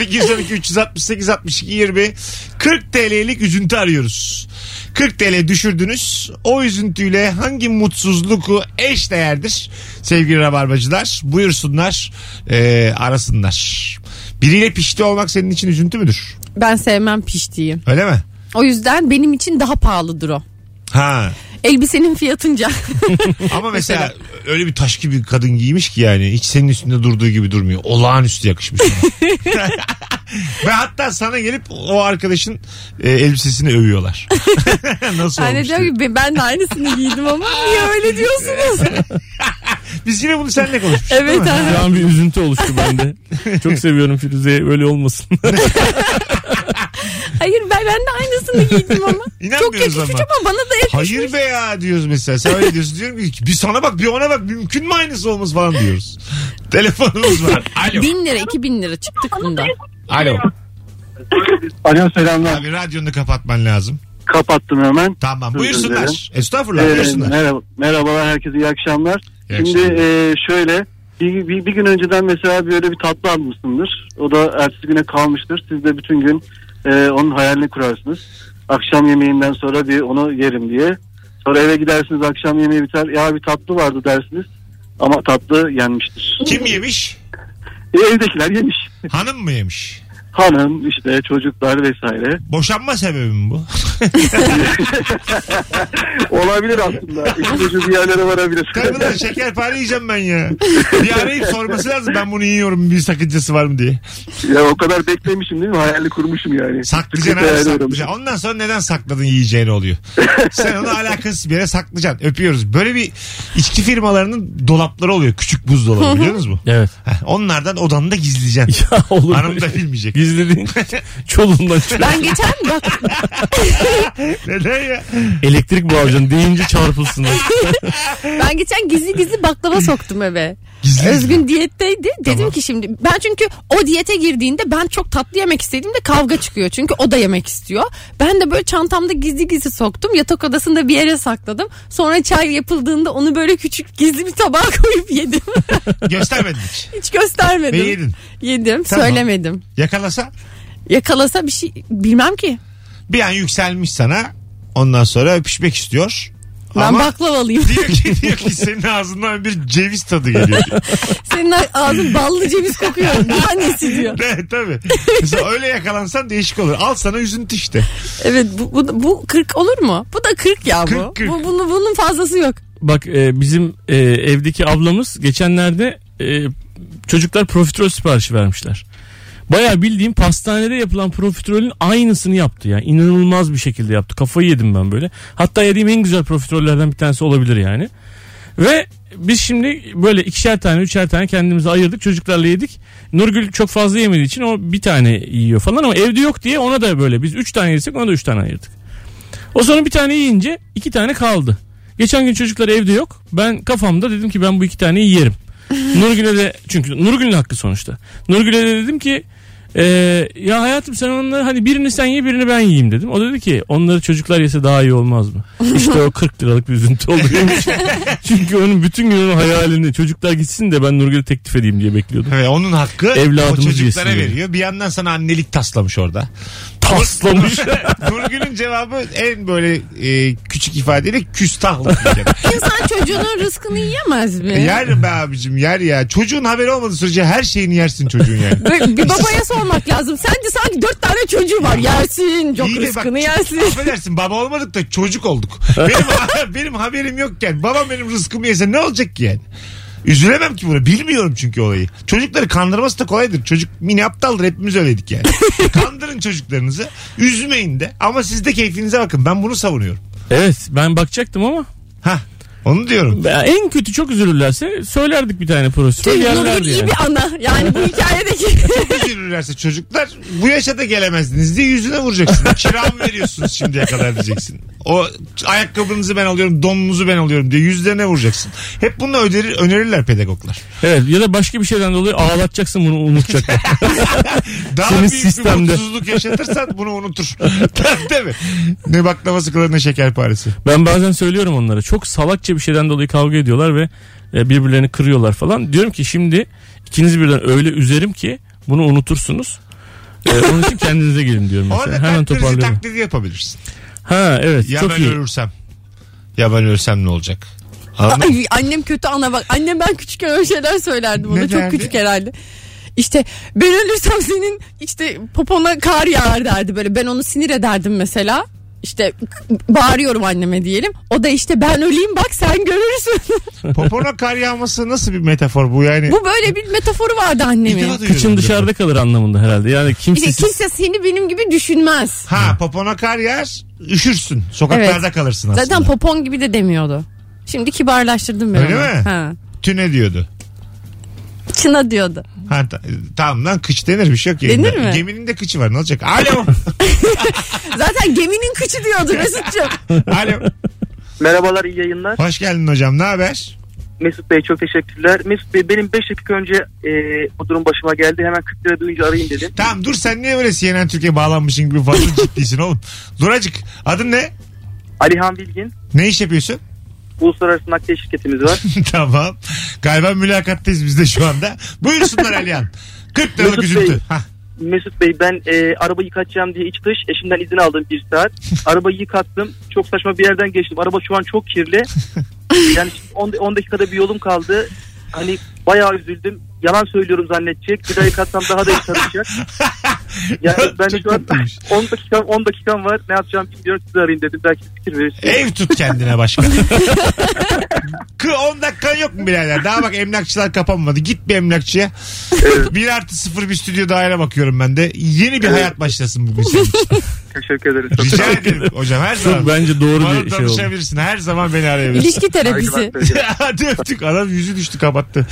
Speaker 2: 0212 368 62 20 40 TL'lik üzüntü arıyoruz. 40 TL düşürdünüz. O üzüntüyle hangi mutsuzluk eş değerdir? Sevgili rabarbacılar buyursunlar e, arasınlar. Biriyle pişti olmak senin için üzüntü müdür?
Speaker 3: Ben sevmem piştiği.
Speaker 2: Öyle mi?
Speaker 3: O yüzden benim için daha pahalıdır o.
Speaker 2: Ha. <laughs>
Speaker 3: Elbisenin fiyatınca.
Speaker 2: Ama mesela öyle bir taş gibi kadın giymiş ki yani hiç senin üstünde durduğu gibi durmuyor. Olağanüstü yakışmış sana. Ve hatta sana gelip o arkadaşın e, elbisesini övüyorlar. <laughs> Nasıl
Speaker 3: ben de
Speaker 2: olmuş
Speaker 3: diyorum
Speaker 2: diye.
Speaker 3: Hani ki "Ben- ben de aynısını
Speaker 2: <laughs>
Speaker 3: giydim ama niye öyle diyorsunuz?
Speaker 2: Biz yine bunu seninle konuşmuştuk değil
Speaker 3: evet.
Speaker 2: mi?
Speaker 3: ha.
Speaker 4: Şu an bir üzüntü oluştu bende. Çok seviyorum Firuze'yi öyle olmasın.
Speaker 3: Hayır ben, ben de aynısını giydim ama. Çok
Speaker 2: <laughs> İnanmıyoruz
Speaker 3: yakışmış
Speaker 2: ama.
Speaker 3: ama bana da yakışmış.
Speaker 2: Hayır be ya diyoruz mesela. Sen öyle diyorsun. Diyorum ki bir sana bak bir ona bak mümkün mü aynısı olmaz falan diyoruz. Telefonumuz var. Alo.
Speaker 3: Bin lira iki bin lira çıktık bundan.
Speaker 2: Alo.
Speaker 6: Alo selamlar.
Speaker 2: Abi radyonu kapatman lazım.
Speaker 6: Kapattım hemen.
Speaker 2: Tamam
Speaker 6: Özür dilerim.
Speaker 2: buyursunlar. Estağfurullah
Speaker 6: Ee,
Speaker 2: buyursunlar.
Speaker 6: merhaba, merhabalar herkese iyi akşamlar.
Speaker 2: İyi
Speaker 6: Şimdi
Speaker 2: akşamlar.
Speaker 6: e, şöyle bir, bir, bir gün önceden mesela böyle bir tatlı almışsındır. O da ertesi güne kalmıştır. Siz de bütün gün e, onun hayalini kurarsınız. Akşam yemeğinden sonra bir onu yerim diye. Sonra eve gidersiniz akşam yemeği biter. Ya bir tatlı vardı dersiniz. Ama tatlı yenmiştir.
Speaker 2: Kim yemiş?
Speaker 6: E, evdekiler yemiş.
Speaker 2: Hanım mı yemiş?
Speaker 6: Hanım işte çocuklar vesaire.
Speaker 2: Boşanma sebebi mi bu? <laughs>
Speaker 6: Olabilir aslında. İşin ucu bir yerlere varabilir.
Speaker 2: Tabii lan şekerpare yiyeceğim ben ya. Bir arayıp sorması lazım ben bunu yiyorum bir sakıncası var mı diye.
Speaker 6: Ya o kadar beklemişim değil mi? Hayalini kurmuşum yani.
Speaker 2: Saklayacaksın
Speaker 6: Sıkıntı
Speaker 2: abi
Speaker 6: hayal
Speaker 2: saklayacaksın. Ondan sonra neden sakladın yiyeceğini oluyor. Sen onu alakasız bir yere saklayacaksın. Öpüyoruz. Böyle bir içki firmalarının dolapları oluyor. Küçük buzdolabı biliyor musunuz mu?
Speaker 4: <laughs> Evet.
Speaker 2: Heh, Onlardan odanı da gizleyeceksin.
Speaker 4: Ya <laughs> olur.
Speaker 2: Hanım da bilmeyecek.
Speaker 4: Gizlediğin çoluğundan çoluğuna.
Speaker 3: Ben geçen bak
Speaker 2: <laughs>
Speaker 3: <laughs>
Speaker 2: Neden ya?
Speaker 4: Elektrik bağlayacaksın deyince çarpılsınlar.
Speaker 3: ben geçen gizli gizli baklava soktum eve.
Speaker 2: Gizli.
Speaker 3: Özgün diyetteydi. Dedim
Speaker 2: Tamam.
Speaker 3: ki şimdi ben çünkü o diyete girdiğinde ben çok tatlı yemek istediğimde kavga çıkıyor. Çünkü o da yemek istiyor. Ben de böyle çantamda gizli gizli soktum. Yatak odasında bir yere sakladım. Sonra çay yapıldığında onu böyle küçük gizli bir tabağa <laughs> koyup yedim.
Speaker 2: Göstermedin hiç.
Speaker 3: Hiç göstermedim.
Speaker 2: Ve yedin.
Speaker 3: Yedim.
Speaker 2: Tamam.
Speaker 3: Söylemedim.
Speaker 2: Yakalasa
Speaker 3: Yakalasa bir şey bilmem ki.
Speaker 2: bir an yükselmiş sana. Ondan sonra öpüşmek istiyor.
Speaker 3: Ben
Speaker 2: Ama
Speaker 3: baklavalıyım.
Speaker 2: diyor ki, <laughs> diyor ki senin ağzından bir ceviz tadı geliyor.
Speaker 3: Senin ağzın ballı ceviz kokuyor. <laughs> Bu annesi diyor.
Speaker 2: Evet tabii. Mesela öyle yakalansan değişik olur. Al sana üzüntü işte.
Speaker 3: Evet bu, bu, bu 40 olur mu? Bu da 40 ya bu.
Speaker 2: 40, 40.
Speaker 3: bu bunu, bunun fazlası yok.
Speaker 4: Bak e, bizim e, evdeki ablamız geçenlerde e, çocuklar profiterol siparişi vermişler. Baya bildiğim pastanede yapılan profiterolün aynısını yaptı yani. inanılmaz bir şekilde yaptı. Kafayı yedim ben böyle. Hatta yediğim en güzel profiterollerden bir tanesi olabilir yani. Ve biz şimdi böyle ikişer tane üçer tane kendimize ayırdık çocuklarla yedik. Nurgül çok fazla yemediği için o bir tane yiyor falan ama evde yok diye ona da böyle biz üç tane yesek ona da üç tane ayırdık. O sonra bir tane yiyince iki tane kaldı. Geçen gün çocuklar evde yok. Ben kafamda dedim ki ben bu iki taneyi
Speaker 3: <laughs>
Speaker 4: yerim. Nurgül'e de çünkü Nurgül'ün hakkı sonuçta. Nurgül'e de dedim ki "Ee, ya hayatım sen onları hani birini sen ye birini ben yiyeyim dedim. O dedi ki onları çocuklar yese daha iyi
Speaker 3: <laughs>
Speaker 4: olmaz mı? İşte o 40 liralık bir üzüntü oluyormuş. çünkü onun bütün gün onun hayalini çocuklar gitsin de ben Nurgül'e teklif edeyim
Speaker 3: <laughs>
Speaker 4: diye bekliyordum.
Speaker 2: Evet, onun hakkı
Speaker 4: Evladımız
Speaker 2: o çocuklara
Speaker 4: yesin diye.
Speaker 2: veriyor. Bir yandan sana annelik taslamış orada. <laughs>
Speaker 4: Taslamış. <laughs>
Speaker 2: Nurgül'ün cevabı en böyle e, küçük ifadeyle küstahlık. bir kere.
Speaker 3: İnsan çocuğunun rızkını yiyemez mi?
Speaker 2: yer be abicim yer ya. Çocuğun haberi olmadığı sürece her şeyini yersin çocuğun yani.
Speaker 3: Böyle bir babaya sormak lazım. Sence sanki dört tane çocuğu var. Yersin. Çok
Speaker 2: İyi de
Speaker 3: rızkını
Speaker 2: bak,
Speaker 3: yersin.
Speaker 2: Affedersin baba olmadık da çocuk olduk.
Speaker 3: <laughs>
Speaker 2: Benim, benim haberim yokken babam benim rızkımı yese ne olacak ki yani? Üzülemem ki buna. Bilmiyorum çünkü olayı. Çocukları kandırması da kolaydır. Çocuk mini aptaldır. Hepimiz öyleydik
Speaker 3: <laughs>
Speaker 2: yani. Kandırın çocuklarınızı. Üzmeyin de. Ama siz de keyfinize bakın. Ben bunu savunuyorum.
Speaker 4: evet ben bakacaktım ama
Speaker 2: Hah. Onu diyorum.
Speaker 4: En kötü çok üzülürlerse söylerdik bir tane profesör.
Speaker 3: Tüh,
Speaker 4: Yerlerdi
Speaker 3: Şey, Nurgül iyi
Speaker 4: yani.
Speaker 3: bir ana. Yani bu hikayedeki
Speaker 2: Üzülürlerse çocuklar bu yaşa da gelemezdiniz diye yüzüne vuracaksın.
Speaker 4: <laughs>
Speaker 2: Kiramı veriyorsunuz şimdiye kadar diyeceksin. O ayakkabınızı ben alıyorum, donunuzu ben alıyorum diye yüzlerine vuracaksın. Hep bunu öderir, önerirler pedagoglar.
Speaker 4: Evet ya da başka bir şeyden dolayı ağlatacaksın bunu
Speaker 2: <laughs>
Speaker 4: unutacaklar.
Speaker 2: Daha
Speaker 4: Senin
Speaker 2: büyük
Speaker 4: sistemde.
Speaker 2: bir mutsuzluk yaşatırsan bunu unutur. <laughs> Değil mi? Ne baklavası kalır ne şekerparesi.
Speaker 4: ben bazen söylüyorum onlara çok salakça bir şeyden dolayı kavga ediyorlar ve e, birbirlerini kırıyorlar falan. Diyorum ki şimdi ikiniz birden öyle üzerim ki bunu unutursunuz. E, onun için kendinize gelin diyorum
Speaker 2: Orada
Speaker 4: mesela. Hemen
Speaker 2: kalp krizi
Speaker 4: toparlıyorum.
Speaker 2: taklidi yapabilirsin.
Speaker 4: Ha evet
Speaker 2: Ya
Speaker 4: çok
Speaker 2: ben
Speaker 4: iyi.
Speaker 2: ölürsem. Ya ben ölsem ne olacak? Anladın mı?
Speaker 3: Ay, annem kötü ana bak. Annem ben küçükken öyle şeyler söylerdim
Speaker 2: Ne
Speaker 3: ona. Çok
Speaker 2: derdi?
Speaker 3: küçük herhalde. İşte ben ölürsem senin işte popona kar yağar derdi böyle. Ben onu sinir ederdim mesela. İşte bağırıyorum anneme diyelim. O da işte ben öleyim bak sen görürsün. <laughs>
Speaker 2: Popona kar yağması nasıl bir metafor bu yani?
Speaker 3: Bu böyle bir metaforu vardı
Speaker 2: İlk
Speaker 3: annemin.
Speaker 2: defa duyuyorum
Speaker 4: Kıçın
Speaker 2: bunu.
Speaker 4: dışarıda kalır anlamında herhalde. Yani
Speaker 3: İşte
Speaker 4: kimsesiz.
Speaker 3: kimse seni benim gibi düşünmez.
Speaker 2: Ha popona kar yağar üşürsün. Sokaklarda
Speaker 3: Evet.
Speaker 2: kalırsın aslında.
Speaker 3: Zaten popon gibi de demiyordu. Şimdi kibarlaştırdım ben
Speaker 2: Öyle
Speaker 3: onu.
Speaker 2: mi?
Speaker 3: Ha.
Speaker 2: Tüne diyordu.
Speaker 3: Çına diyordu.
Speaker 2: Ha, ta- tamam lan kıç denir bir şey yok. yayında.
Speaker 3: Denir mi?
Speaker 2: Geminin de kıçı var ne olacak?
Speaker 3: <laughs>
Speaker 2: Alo.
Speaker 3: Zaten geminin kıçı diyordu Mesut'cum.
Speaker 2: <laughs> Alo.
Speaker 7: Merhabalar iyi yayınlar.
Speaker 2: Hoş geldin hocam ne haber?
Speaker 7: Mesut Bey çok teşekkürler. Mesut Bey benim 5 dakika önce e, bu durum başıma geldi. Hemen 40 lira duyunca arayayım dedim.
Speaker 2: Tamam dur sen niye böyle CNN Türkiye bağlanmışsın gibi
Speaker 3: <laughs>
Speaker 2: fazla ciddisin oğlum. Duracık adın ne?
Speaker 7: Alihan Bilgin.
Speaker 2: Ne iş yapıyorsun? <laughs>
Speaker 7: Uluslararası nakliye şirketimiz var.
Speaker 2: tamam. Galiba mülakattayız biz de şu anda. Buyursunlar Alihan. 40 liralık
Speaker 7: Mesut
Speaker 2: üzüntü.
Speaker 7: Bey.
Speaker 2: Hah.
Speaker 7: Mesut Bey ben e, araba yıkatacağım diye iç dış eşimden izin aldım bir saat. Arabayı yıkattım. Çok saçma bir yerden geçtim. Araba şu an çok kirli. Yani 10 dakikada bir yolum kaldı. Hani bayağı üzüldüm. Yalan söylüyorum zannedecek. Bir daha yıkatsam daha da iyi tanıyacak. Yani ben
Speaker 2: Çok
Speaker 7: şu an <laughs>
Speaker 2: tatlıymış.
Speaker 7: 10 dakikam, 10 dakikam var. Ne yapacağım bilmiyorum. Sizi arayayım dedim. Belki fikir verirsiniz.
Speaker 2: Ev tut kendine
Speaker 4: <laughs>
Speaker 2: başka. Kı 10 dakikan yok mu birader? Daha bak emlakçılar kapanmadı. Git bir emlakçıya. bir artı sıfır bir stüdyo daire bakıyorum ben de. Yeni bir hayat başlasın bugün senin için.
Speaker 7: Teşekkür ederim. Çok
Speaker 2: Rica ederim hocam her
Speaker 4: Çok
Speaker 2: zaman.
Speaker 4: bence doğru
Speaker 2: Bana
Speaker 4: bir şey oldu.
Speaker 2: danışabilirsin. Her zaman beni arayabilirsin.
Speaker 3: İlişki terapisi.
Speaker 2: <laughs> Hadi öptük. Adam yüzü düştü kapattı.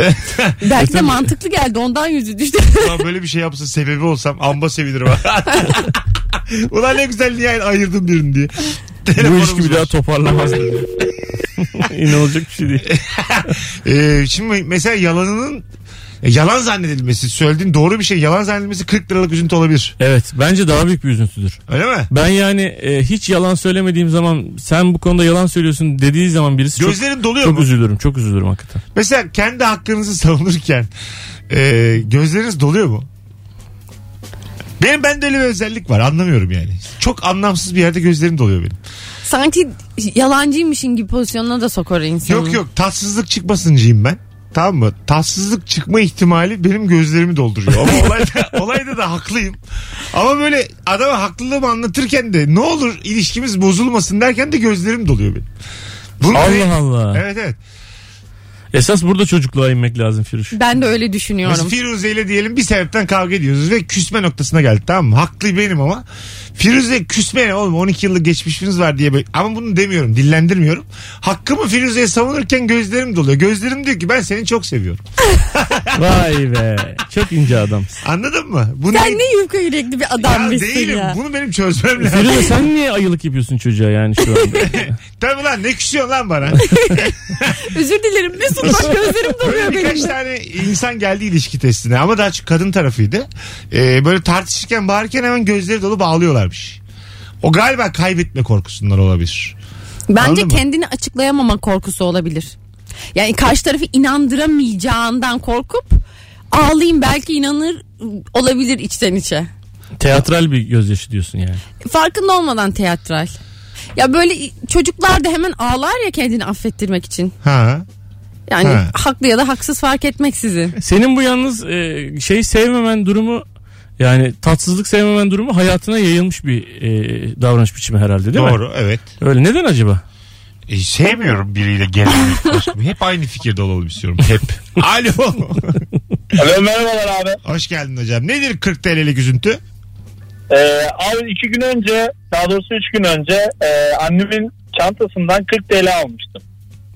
Speaker 2: <laughs>
Speaker 3: Belki de mantıklı geldi ondan yüzü düştü. <laughs>
Speaker 2: Ulan böyle bir şey yapsa sebebi olsam amba sevinirim. <laughs> Ulan ne güzel niye ayırdım birini diye.
Speaker 4: Bu
Speaker 2: Telefonumuz
Speaker 4: ilişki bir
Speaker 2: var. <laughs>
Speaker 4: daha toparlamaz. <laughs> İnanılacak bir şey değil.
Speaker 2: Ee, şimdi mesela yalanının e, yalan zannedilmesi söylediğin doğru bir şey yalan zannedilmesi 40 liralık üzüntü olabilir.
Speaker 4: Evet bence daha büyük bir üzüntüdür.
Speaker 2: Öyle mi?
Speaker 4: Ben yani e, hiç yalan söylemediğim zaman sen bu konuda yalan söylüyorsun dediği zaman birisi çok,
Speaker 2: Gözlerin doluyor
Speaker 4: çok
Speaker 2: mu?
Speaker 4: üzülürüm. Çok üzülürüm hakikaten.
Speaker 2: Mesela kendi hakkınızı savunurken e, gözleriniz doluyor mu? Benim bende öyle bir özellik var anlamıyorum yani. Çok anlamsız bir yerde gözlerim doluyor benim.
Speaker 3: Sanki yalancıymışın gibi pozisyonuna da sokar insanı.
Speaker 2: Yok yok tatsızlık çıkmasıncıyım ben. Tamam mı? Tatsızlık çıkma ihtimali benim gözlerimi dolduruyor. Ama
Speaker 4: <laughs>
Speaker 2: olayda, olayda da haklıyım. Ama böyle adama haklılığımı anlatırken de ne olur ilişkimiz bozulmasın derken de gözlerim doluyor benim. Bunu
Speaker 4: Allah Allah.
Speaker 2: Evet evet.
Speaker 4: Esas burada çocukluğa inmek
Speaker 2: <laughs>
Speaker 4: lazım Firuş.
Speaker 3: Ben de öyle
Speaker 2: Biz
Speaker 3: düşünüyorum.
Speaker 2: Firuze ile diyelim bir sebepten kavga ediyoruz ve küsme noktasına geldi tamam mı? Haklı benim ama. Firuze küsme ne oğlum 12 yıllık geçmişimiz var diye böyle. Ama bunu demiyorum dillendirmiyorum. Hakkımı Firuze'ye savunurken gözlerim doluyor. Gözlerim diyor ki ben seni çok seviyorum.
Speaker 4: Vay be. Çok ince adam.
Speaker 2: Anladın mı? Bu
Speaker 3: Sen ne yufka yürekli bir
Speaker 2: Ya
Speaker 3: adam mısın
Speaker 2: değilim.
Speaker 3: ya.
Speaker 2: Bunu benim çözmem lazım.
Speaker 4: Firuze sen niye ayılık yapıyorsun çocuğa yani şu anda?
Speaker 2: Tabii lan ne küsüyorsun lan bana.
Speaker 3: Özür dilerim Mesut bak gözlerim <laughs>
Speaker 2: <laughs>
Speaker 3: doluyor
Speaker 2: Böyle birkaç
Speaker 3: benim de.
Speaker 2: tane insan geldi ilişki testine ama daha çok kadın tarafıydı. Ee, böyle tartışırken bağırırken hemen gözleri dolu bağlıyorlarmış. O galiba kaybetme korkusundan olabilir. Anladın
Speaker 3: Bence
Speaker 2: mı?
Speaker 3: kendini açıklayamama korkusu olabilir. Yani karşı tarafı inandıramayacağından korkup ağlayayım belki inanır olabilir içten içe.
Speaker 4: Teatral bir gözyaşı diyorsun yani.
Speaker 3: Farkında olmadan teatral. Ya böyle çocuklar da hemen ağlar ya kendini affettirmek için.
Speaker 2: Ha.
Speaker 3: Yani
Speaker 2: Ha.
Speaker 3: haklı ya da haksız fark etmeksizin.
Speaker 4: Senin bu yalnız e, şey sevmemen durumu yani tatsızlık sevmemen durumu hayatına yayılmış bir e, davranış biçimi herhalde değil mi?
Speaker 2: Doğru evet.
Speaker 4: Öyle neden acaba?
Speaker 2: E, sevmiyorum biriyle gelmeyi. Başka- Hep aynı fikirde olalım istiyorum. Hep. Alo.
Speaker 8: Alo merhabalar abi.
Speaker 2: Hoş geldin hocam. Nedir 40 TL'lik üzüntü?
Speaker 8: Ee, abi iki gün önce daha doğrusu üç gün önce e, annemin çantasından 40 TL almıştım.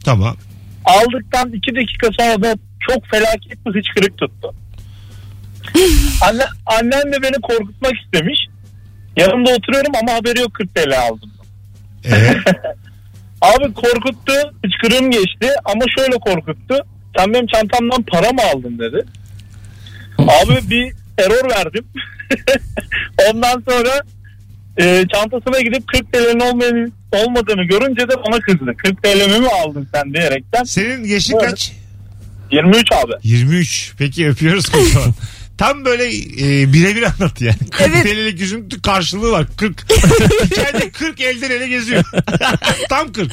Speaker 2: Tamam.
Speaker 8: Aldıktan iki dakika sonra da çok felaket bir hıçkırık tuttu. Anne, annem de beni korkutmak istemiş. Yanımda oturuyorum ama haberi yok 40 TL aldım.
Speaker 2: Ee,
Speaker 8: Abi korkuttu, hıçkırığım geçti ama şöyle korkuttu. Sen benim çantamdan para mı aldın dedi. Abi bir error verdim. <laughs> Ondan sonra e, çantasına gidip 40 TL'nin olmayan- olmadığını görünce de bana kızdı. 40 TL'mi mi aldın sen diyerekten.
Speaker 2: senin yaşın kaç?
Speaker 8: 23 abi.
Speaker 2: 23. Peki öpüyoruz kocaman. Tam böyle e, birebir anlat yani. 40
Speaker 3: Evet.
Speaker 2: TL'lik yüzün t- karşılığı var. 40. Hikayede 40 elden ele geziyor. <laughs> Tam 40.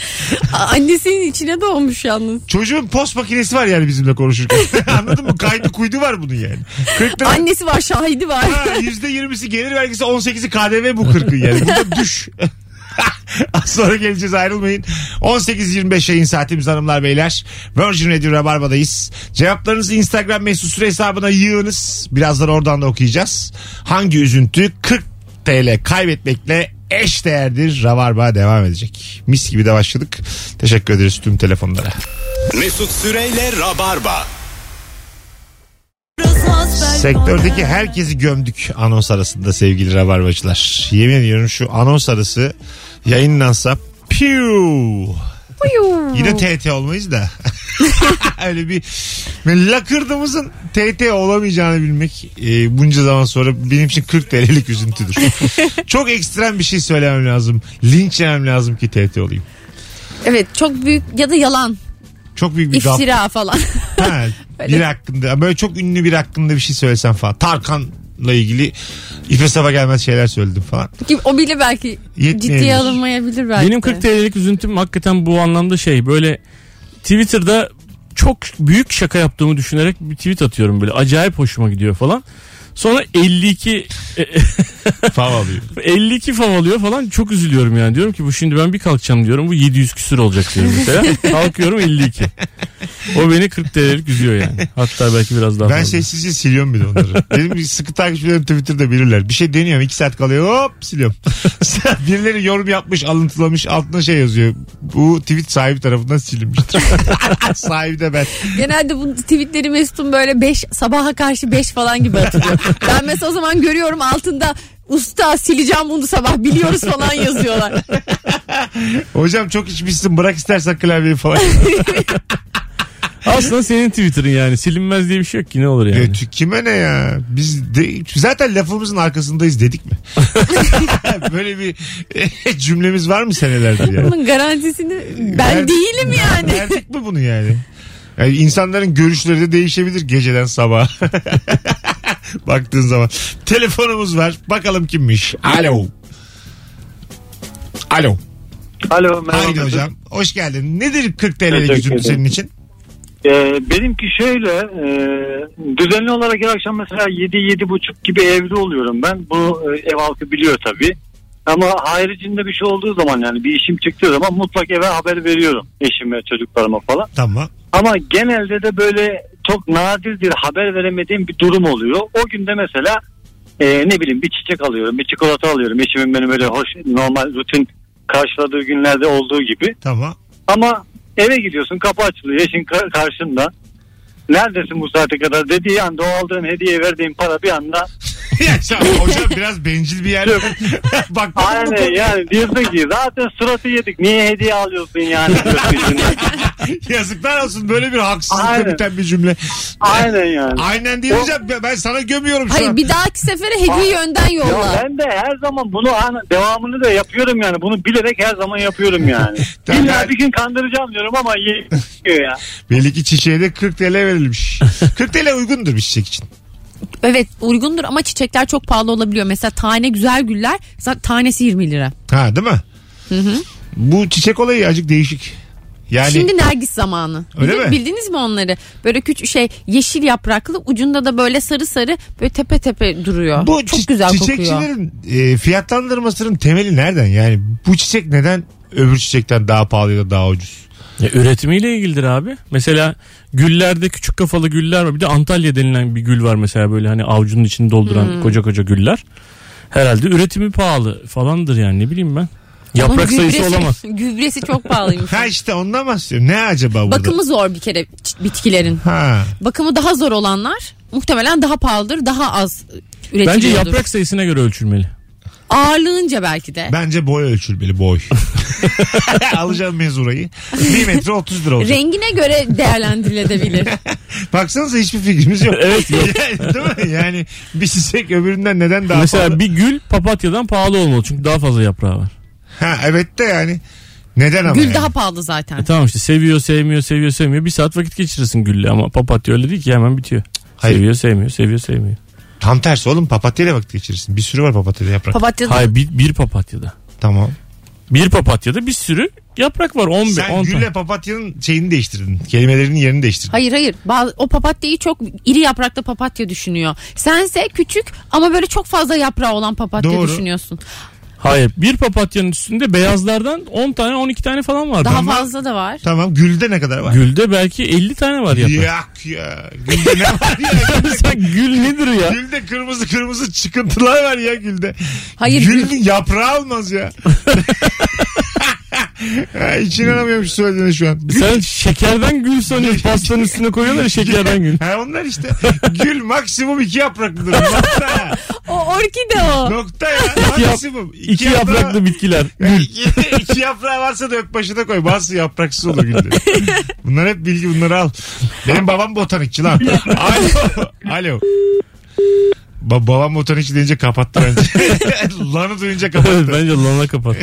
Speaker 3: A- Annesinin içine doğmuş yalnız.
Speaker 2: Çocuğun post makinesi var yani bizimle konuşurken. <laughs> Anladın mı? Kaydı kuydu var bunun yani. 40 lira.
Speaker 3: Annesi var şahidi var.
Speaker 2: Ha, %20'si gelir vergisi 18'i KDV bu 40'ın yani. Bu da düş. <laughs> Az sonra geleceğiz ayrılmayın. 18.25 yayın saatimiz hanımlar beyler. Virgin Radio Rabarba'dayız. Cevaplarınızı Instagram mesut süre hesabına yığınız. Birazdan oradan da okuyacağız. Hangi üzüntü 40 TL kaybetmekle eş değerdir. Rabarba devam edecek. Mis gibi de başladık. Teşekkür ederiz tüm telefonlara.
Speaker 1: Mesut Süreyle Rabarba.
Speaker 2: Sektördeki herkesi gömdük anons arasında sevgili rabarbacılar. Yemin ediyorum şu anons arası yayınlansa piu. <laughs>
Speaker 3: Uyuu.
Speaker 2: Yine TT olmayız da. <laughs> Öyle bir böyle lakırdımızın TT olamayacağını bilmek e, bunca zaman sonra benim için 40 TL'lik üzüntüdür. Çok ekstrem bir şey söylemem lazım. Linç yemem lazım ki TT olayım.
Speaker 3: Evet çok büyük ya da yalan.
Speaker 2: Çok büyük bir gaf.
Speaker 3: iftira falan. <laughs>
Speaker 2: Ha, biri hakkında böyle çok ünlü bir hakkında bir şey söylesem falan. Tarkan'la ilgili ife sapa gelmez şeyler söyledim falan.
Speaker 3: Ki o bile belki
Speaker 2: Yetmeyebilir.
Speaker 3: ciddiye alınmayabilir belki.
Speaker 4: Benim 40 TL'lik üzüntüm hakikaten bu anlamda şey böyle Twitter'da çok büyük şaka yaptığımı düşünerek bir tweet atıyorum böyle acayip hoşuma gidiyor falan. Sonra 52 <laughs>
Speaker 2: Fav alıyor.
Speaker 4: 52 fav alıyor falan çok üzülüyorum yani diyorum ki bu şimdi ben bir kalkacağım diyorum bu 700 küsür olacak diyorum mesela. Kalkıyorum 52. O beni 40 TL'lik üzüyor yani. Hatta belki biraz daha
Speaker 2: Ben şey-
Speaker 4: fazla.
Speaker 2: sessizce siliyorum bir de onları. Benim sıkı takipçilerim Twitter'da bilirler. Bir şey deniyorum. iki saat kalıyor hop siliyorum. Birileri yorum yapmış alıntılamış altına şey yazıyor. Bu tweet sahibi tarafından silinmiştir. <laughs> sahibi de ben.
Speaker 3: Genelde bu tweetleri Mesut'un böyle 5 sabaha karşı 5 falan gibi atılıyor. ben mesela o zaman görüyorum altında usta sileceğim bunu sabah biliyoruz falan yazıyorlar.
Speaker 2: Hocam çok içmişsin bırak istersen klavyeyi falan.
Speaker 4: Aslında senin Twitter'ın yani silinmez diye bir şey yok ki ne olur yani.
Speaker 2: Ya Ee, tü- kime ne ya? Biz de, zaten lafımızın arkasındayız dedik mi? Böyle bir <laughs> cümlemiz var mı senelerdir yani?
Speaker 3: Bunun garantisini ben
Speaker 2: Ver-
Speaker 3: değilim yani.
Speaker 2: Verdik mi bunu yani? yani? insanların görüşleri de değişebilir geceden sabah. <laughs> Baktığın zaman. Telefonumuz var. Bakalım kimmiş. Alo. Alo.
Speaker 6: Alo merhaba.
Speaker 2: Haydi hocam. Hoş geldin. Nedir 40 TL'lik
Speaker 6: Teşekkür
Speaker 2: üzüntü
Speaker 6: ederim.
Speaker 2: senin için?
Speaker 6: Ee, benimki şöyle e, düzenli olarak her akşam mesela 7 buçuk gibi evde oluyorum ben. Bu e, ev halkı biliyor tabii. Ama haricinde bir şey olduğu zaman yani bir işim çıktığı zaman mutlak eve haber veriyorum eşime çocuklarıma falan.
Speaker 2: Tamam.
Speaker 6: Ama genelde de böyle çok nadirdir haber veremediğim bir durum oluyor. O günde mesela e, ne bileyim bir çiçek alıyorum bir çikolata alıyorum eşimin benim öyle hoş normal rutin karşıladığı günlerde olduğu gibi.
Speaker 2: Tamam. <laughs>
Speaker 6: Ama eve gidiyorsun kapı açılıyor eşin ka- karşında. Neredesin bu saate kadar dediği anda o aldığın hediye verdiğin para bir anda
Speaker 2: ya şu an hocam biraz bencil bir yer. <laughs> Bak
Speaker 6: aynen yani diyorsun ki zaten suratı yedik niye hediye alıyorsun yani diyorsun içinden.
Speaker 2: <laughs> yazıklar olsun böyle bir haksızlıkla
Speaker 6: Aynen.
Speaker 2: biten bir cümle.
Speaker 6: aynen yani.
Speaker 2: Aynen diyeceğim ben sana gömüyorum şu
Speaker 3: Hayır
Speaker 2: an.
Speaker 3: bir dahaki sefere hediyeyi önden
Speaker 6: Ya
Speaker 3: yolla.
Speaker 6: ben de her zaman bunu an- devamını da yapıyorum yani bunu bilerek her zaman yapıyorum yani.
Speaker 2: Tamam.
Speaker 6: İlla bir gün kandıracağım diyorum ama yemiyor <laughs> ya.
Speaker 2: Belli ki çiçeğe de 40 TL
Speaker 3: <laughs>
Speaker 2: verilmiş. 40 TL uygundur bir çiçek için.
Speaker 3: Evet uygundur ama çiçekler çok pahalı olabiliyor. Mesela tane güzel güller zaten tanesi 20 lira.
Speaker 2: Ha değil mi? Bu çiçek olayı acık değişik. Yani
Speaker 3: Şimdi nergis zamanı.
Speaker 2: Öyle
Speaker 3: Bilir-
Speaker 2: mi?
Speaker 3: Bildiniz mi onları? Böyle küçük şey yeşil yapraklı ucunda da böyle sarı sarı böyle tepe tepe duruyor.
Speaker 2: bu
Speaker 3: Çok
Speaker 2: çi-
Speaker 3: güzel kokuyor.
Speaker 2: çiçekçilerin e, fiyatlandırmasının temeli nereden? Yani bu çiçek neden öbür çiçekten daha pahalı ya da daha ucuz?
Speaker 4: Ya E, üretimiyle ilgilidir abi. Mesela güllerde küçük kafalı güller var. Bir de Antalya denilen bir gül var mesela böyle hani avucunun içini dolduran koca koca güller. Herhalde üretimi pahalı falandır yani ne bileyim ben.
Speaker 3: Onun
Speaker 4: Yaprak sayısı
Speaker 3: gübresi-
Speaker 4: olamaz.
Speaker 3: <laughs> Gübresi çok pahalıymış.
Speaker 2: Ha işte ondan bahsediyorum. Ne acaba burada?
Speaker 3: Bakımı zor bir kere ç- bitkilerin.
Speaker 2: Ha.
Speaker 3: Bakımı daha zor olanlar muhtemelen daha pahalıdır, daha az üretiliyordur.
Speaker 4: Bence yaprak sayısına göre ölçülmeli.
Speaker 3: Ağırlığınca belki de.
Speaker 2: Bence boy ölçülmeli
Speaker 4: <laughs>
Speaker 2: boy. Alacağım mezurayı. 1 metre 30 lira olacak.
Speaker 3: Rengine göre
Speaker 2: <laughs>
Speaker 3: değerlendirilebilir.
Speaker 2: Baksanıza hiçbir fikrimiz yok.
Speaker 4: Evet, yok.
Speaker 2: <laughs> Yani, değil mi? Yani bir çiçek öbüründen neden daha
Speaker 4: Mesela
Speaker 2: fazla?
Speaker 4: bir gül papatyadan pahalı olmalı çünkü daha fazla yaprağı var.
Speaker 2: Ha, evet de yani. Neden ama?
Speaker 3: Gül
Speaker 2: yani?
Speaker 3: daha pahalı zaten.
Speaker 4: E tamam işte seviyor sevmiyor seviyor sevmiyor bir saat vakit geçirirsin gülle ama papatya öyle değil ki hemen bitiyor.
Speaker 2: Hayır.
Speaker 4: Seviyor sevmiyor seviyor sevmiyor.
Speaker 2: Tam tersi oğlum papatyayla vakit geçirirsin. Bir sürü var papatyayla yaprak.
Speaker 3: Papatya
Speaker 4: Hayır bir, bir papatyada.
Speaker 2: tamam.
Speaker 4: Bir papatyada bir sürü yaprak var 11
Speaker 2: Sen
Speaker 4: 10
Speaker 2: gülle
Speaker 4: tane.
Speaker 2: papatyanın şeyini değiştirdin. Kelimelerinin yerini değiştirdin.
Speaker 3: Hayır hayır. Bazı, o papatyayı çok iri yapraklı papatya düşünüyor. Sense küçük ama böyle çok fazla yaprağı olan papatya
Speaker 2: Doğru.
Speaker 3: düşünüyorsun.
Speaker 4: Hayır bir papatyanın üstünde beyazlardan 10 tane 12 tane falan var.
Speaker 3: Daha
Speaker 4: Ama
Speaker 3: fazla da var.
Speaker 2: Tamam gülde ne kadar var?
Speaker 4: Gülde belki 50 tane var yaprak.
Speaker 2: Yak ya. Gülde ne var ya?
Speaker 4: <laughs> Sen gül nedir ya?
Speaker 2: Gülde kırmızı kırmızı çıkıntılar var ya gülde.
Speaker 3: Hayır,
Speaker 2: Gül, yaprağı almaz ya. <laughs> Ha, Hiç inanamıyorum şu söylediğine şu an. Gül,
Speaker 4: Sen şekerden gül sanıyorsun. Pastanın üstüne koyuyorlar ya
Speaker 2: <laughs>
Speaker 4: şekerden gül.
Speaker 2: ha, onlar işte. Gül maksimum iki yapraklıdır. Nokta.
Speaker 3: O orkide o.
Speaker 2: Nokta ya.
Speaker 4: yap-
Speaker 2: Maksimum.
Speaker 4: İki, yapraklı bitkiler. <laughs>
Speaker 2: Yani <laughs> iki, iki yaprağı varsa da ök başına koy. Bazısı yapraksız olur gülde. Bunlar hep bilgi bunları al. Benim babam botanikçi lan. Alo. Alo. Ba- babam botanikçi deyince kapattı bence. <laughs> Lanı duyunca kapattı.
Speaker 4: Evet, Bence lana kapat.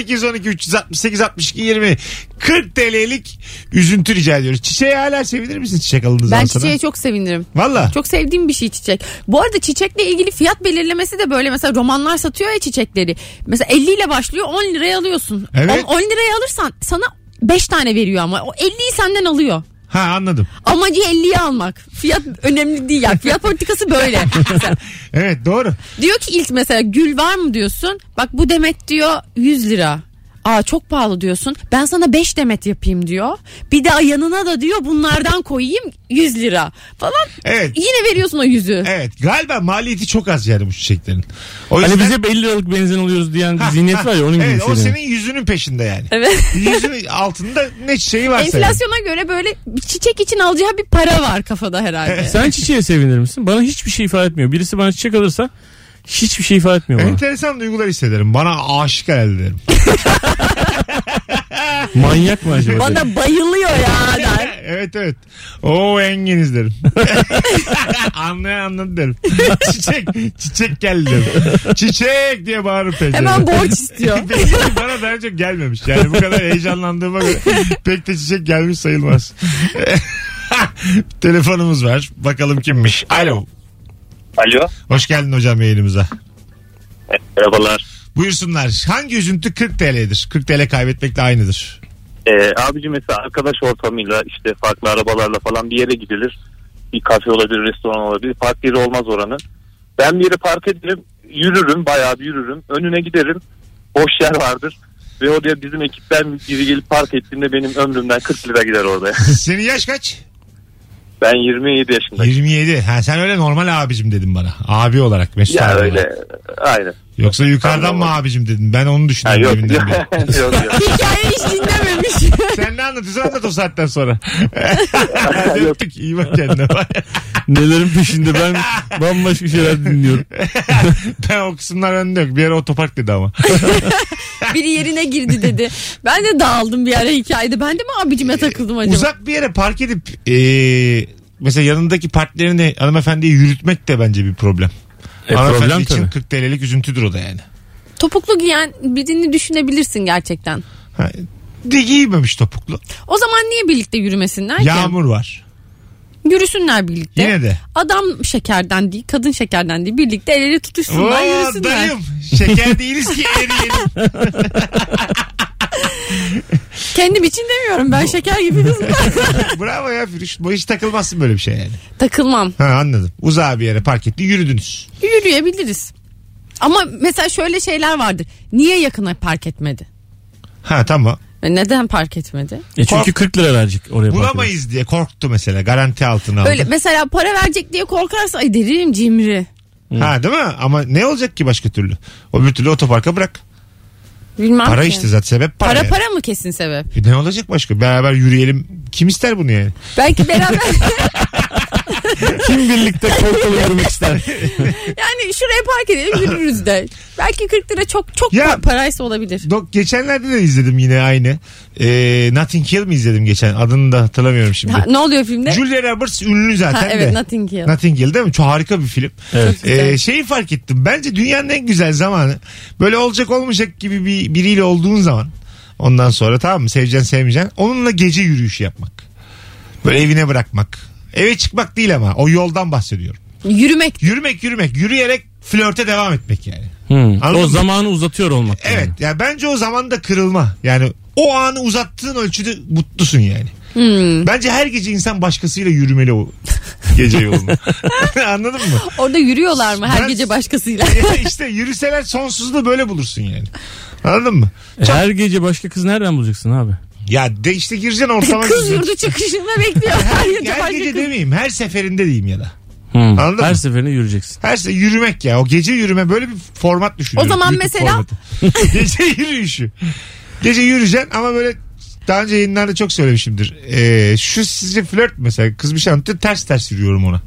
Speaker 2: 0212 368 62 20 40 TL'lik üzüntü rica ediyoruz. Çiçeği hala sevinir misin çiçek alındığı zaman
Speaker 3: Ben
Speaker 2: sana?
Speaker 3: çiçeğe çok sevinirim.
Speaker 2: Valla.
Speaker 3: Çok sevdiğim bir şey çiçek. Bu arada çiçekle ilgili fiyat belirlemesi de böyle mesela romanlar satıyor ya çiçekleri. Mesela 50 ile başlıyor 10 liraya alıyorsun.
Speaker 2: Evet.
Speaker 3: 10, 10 liraya alırsan sana 5 tane veriyor ama o 50'yi senden alıyor.
Speaker 2: Ha anladım.
Speaker 3: Amacı 50'yi almak. Fiyat önemli değil ya. Fiyat
Speaker 2: <laughs>
Speaker 3: politikası böyle. Mesela
Speaker 2: Evet doğru.
Speaker 3: Diyor ki ilk mesela gül var mı diyorsun. Bak bu demet diyor 100 lira. Aa çok pahalı diyorsun. Ben sana 5 demet yapayım diyor. Bir de yanına da diyor bunlardan koyayım 100 lira falan.
Speaker 2: Evet.
Speaker 3: Yine veriyorsun o yüzü.
Speaker 2: Evet galiba maliyeti çok az yani bu çiçeklerin. O
Speaker 4: Hani biz hep 50 liralık benzin alıyoruz diyen bir şey zihniyet var ya onun gibi
Speaker 2: Evet o
Speaker 4: hissediyorum.
Speaker 2: senin yüzünün peşinde yani.
Speaker 3: Evet.
Speaker 2: Yüzünün altında ne çiçeği varsa. yani.
Speaker 3: Enflasyona göre böyle bir çiçek için alacağı bir para var kafada herhalde.
Speaker 4: Sen çiçeğe sevinir misin? Bana hiçbir şey ifade etmiyor. Birisi bana çiçek alırsa hiçbir şey ifade etmiyor bana.
Speaker 2: Enteresan duygular hissederim. Bana aşık herhalde derim.
Speaker 4: Manyak mı acaba?
Speaker 3: Bana bayılıyor ya der.
Speaker 2: <laughs> evet evet. O enginiz derim. <laughs> Anlayan anladı derim. <laughs> çiçek, çiçek geldi derim. Çiçek diye bağırıp pencereye. <laughs>
Speaker 3: Hemen borç istiyor.
Speaker 2: Belli ki bana daha önce gelmemiş. Yani bu kadar heyecanlandığıma
Speaker 3: <laughs>
Speaker 2: göre pek de çiçek gelmiş sayılmaz. <laughs> Telefonumuz var. Bakalım kimmiş. Alo.
Speaker 9: Alo.
Speaker 2: Hoş geldin hocam yayınımıza.
Speaker 9: Merhabalar.
Speaker 2: Buyursunlar. Hangi üzüntü 40 TL'dir? 40 TL kaybetmekle aynıdır.
Speaker 9: Ee, abici mesela arkadaş ortamıyla işte farklı arabalarla falan bir yere gidilir. Bir kafe olabilir, restoran olabilir. Park yeri olmaz oranın. Ben bir yere park ederim. Yürürüm, bayağı bir yürürüm. Önüne giderim. Boş yer vardır. Ve oraya bizim ekipten biri gelip park ettiğinde benim ömrümden 40 lira gider orada.
Speaker 2: Senin yaş kaç?
Speaker 9: Ben 27 yaşındayım.
Speaker 2: 27. Ha, sen öyle normal abicim dedin bana. Abi olarak Mesut
Speaker 9: Ya
Speaker 2: abi
Speaker 9: öyle.
Speaker 2: olarak.
Speaker 9: Aynen.
Speaker 2: Yoksa yukarıdan
Speaker 9: Tamam.
Speaker 2: mı abicim dedin? Ben onu
Speaker 9: Ha,
Speaker 2: düşündüm.
Speaker 9: yok,
Speaker 2: deminden
Speaker 9: yok, <laughs>
Speaker 2: beri.
Speaker 9: yok, yok.
Speaker 3: Hikayeyi hiç dinlememiş.
Speaker 2: Sen ne anlatıyorsun anlat o
Speaker 9: <laughs>
Speaker 2: saatten sonra. Hadi Öptük. İyi bak kendine.
Speaker 4: Nelerin peşinde ben bambaşka şeyler dinliyorum.
Speaker 2: ben o kısımlar önde yok. Bir yere otopark dedi ama.
Speaker 3: Biri yerine girdi dedi. Ben de dağıldım bir ara hikayede. Ben de mi abicime takıldım acaba?
Speaker 2: Uzak bir yere park edip e, mesela yanındaki partnerini hanımefendiyi yürütmek de bence bir problem.
Speaker 4: E,
Speaker 2: Hanımefendi
Speaker 4: problem
Speaker 2: için
Speaker 4: tabii.
Speaker 2: 40 TL'lik üzüntüdür o da yani.
Speaker 3: Topuklu giyen birini düşünebilirsin gerçekten.
Speaker 2: Ha, de giymemiş topuklu.
Speaker 3: O zaman niye birlikte yürümesinler ki?
Speaker 2: Yağmur var.
Speaker 3: Yürüsünler birlikte.
Speaker 2: Yine de.
Speaker 3: Adam şekerden değil, kadın şekerden değil. Birlikte el ele tutuşsunlar,
Speaker 2: Oo,
Speaker 3: yürüsünler.
Speaker 2: dayım. Şeker değiliz ki
Speaker 3: <laughs>
Speaker 2: eriyelim.
Speaker 3: Kendim için demiyorum. Ben şeker
Speaker 2: <laughs>
Speaker 3: gibi kızım.
Speaker 2: Bravo ya Firuş. Bu hiç takılmazsın böyle bir şey yani.
Speaker 3: Takılmam.
Speaker 2: Ha anladım. Uzağa bir yere park etti yürüdünüz.
Speaker 3: Yürüyebiliriz. Ama mesela şöyle şeyler vardır. Niye yakına park etmedi?
Speaker 2: Ha tamam.
Speaker 3: Ve Neden park etmedi?
Speaker 4: E çünkü 40 lira verecek oraya bakıyorum.
Speaker 2: Bulamayız diye korktu mesela. Garanti altına aldı.
Speaker 3: Öyle mesela para verecek diye korkarsa ay derim cimri.
Speaker 2: Ha değil mi? Ama ne olacak ki başka türlü? O bir türlü otoparka bırak.
Speaker 3: Bilmem
Speaker 2: Para
Speaker 3: ki.
Speaker 2: işte zaten sebep para.
Speaker 3: Para
Speaker 2: yani.
Speaker 3: para mı kesin sebep?
Speaker 2: E ne olacak başka? Beraber yürüyelim. Kim ister bunu yani?
Speaker 3: Belki beraber
Speaker 2: <laughs>
Speaker 4: Kim birlikte korkulu yürümek ister?
Speaker 3: yani şuraya park edelim yürürüz de. Belki 40 lira çok çok
Speaker 2: Ya-
Speaker 3: pa- paraysa olabilir.
Speaker 2: Dok geçenlerde de izledim yine aynı. Ee, Nothing Hill mi izledim geçen? Adını da hatırlamıyorum şimdi.
Speaker 3: Ha, ne oluyor filmde?
Speaker 2: Julia Roberts ünlü zaten
Speaker 3: Ha, evet
Speaker 2: de.
Speaker 3: Nothing Hill.
Speaker 2: Nothing Hill değil mi? Çok harika bir film.
Speaker 4: Evet.
Speaker 3: Çok güzel.
Speaker 2: Ee, şeyi fark ettim. Bence dünyanın en güzel zamanı böyle olacak olmayacak gibi bir biriyle olduğun zaman ondan sonra tamam mı seveceksin sevmeyeceksin onunla gece yürüyüşü yapmak. Böyle evine bırakmak. Eve çıkmak değil ama o yoldan bahsediyorum.
Speaker 3: Yürümek.
Speaker 2: Yürümek yürümek yürüyerek flörte devam etmek yani.
Speaker 4: Hmm.
Speaker 2: Anladın
Speaker 4: O
Speaker 2: mı?
Speaker 4: zamanı uzatıyor olmak.
Speaker 2: Evet ya bence o zaman da kırılma. Yani o anı uzattığın ölçüde mutlusun yani.
Speaker 3: Hmm.
Speaker 2: Bence her gece insan başkasıyla yürümeli o gece
Speaker 3: <laughs>
Speaker 2: yolunu. <laughs> Anladın mı?
Speaker 3: Orada yürüyorlar mı her
Speaker 2: Ben- <laughs>
Speaker 3: gece başkasıyla?
Speaker 2: işte yürüseler sonsuzluğu böyle bulursun yani. Anladın mı?
Speaker 4: E, Her gece başka kız nereden bulacaksın abi?
Speaker 2: Ya de işte gireceksin ortama.
Speaker 3: Kız
Speaker 2: gireceksin.
Speaker 3: yurdu çıkışında bekliyor. Her gece
Speaker 2: Her
Speaker 3: başka
Speaker 2: şey gece
Speaker 3: kız.
Speaker 2: demeyeyim her seferinde diyeyim ya da.
Speaker 4: Hmm.
Speaker 2: Anladın
Speaker 4: Her
Speaker 2: mı?
Speaker 4: seferinde yürüyeceksin.
Speaker 2: Her se yürümek ya o gece yürüme böyle bir format düşünüyorum.
Speaker 3: O zaman
Speaker 2: YouTube
Speaker 3: mesela-
Speaker 2: formatı. <laughs> gece yürüyüşü. Gece yürüyeceksin ama böyle daha önce yayınlarda çok söylemişimdir. Ee, şu sizce flört mü mesela kız bir şey anlatıyor ters ters yürüyorum
Speaker 3: <laughs>
Speaker 2: ona.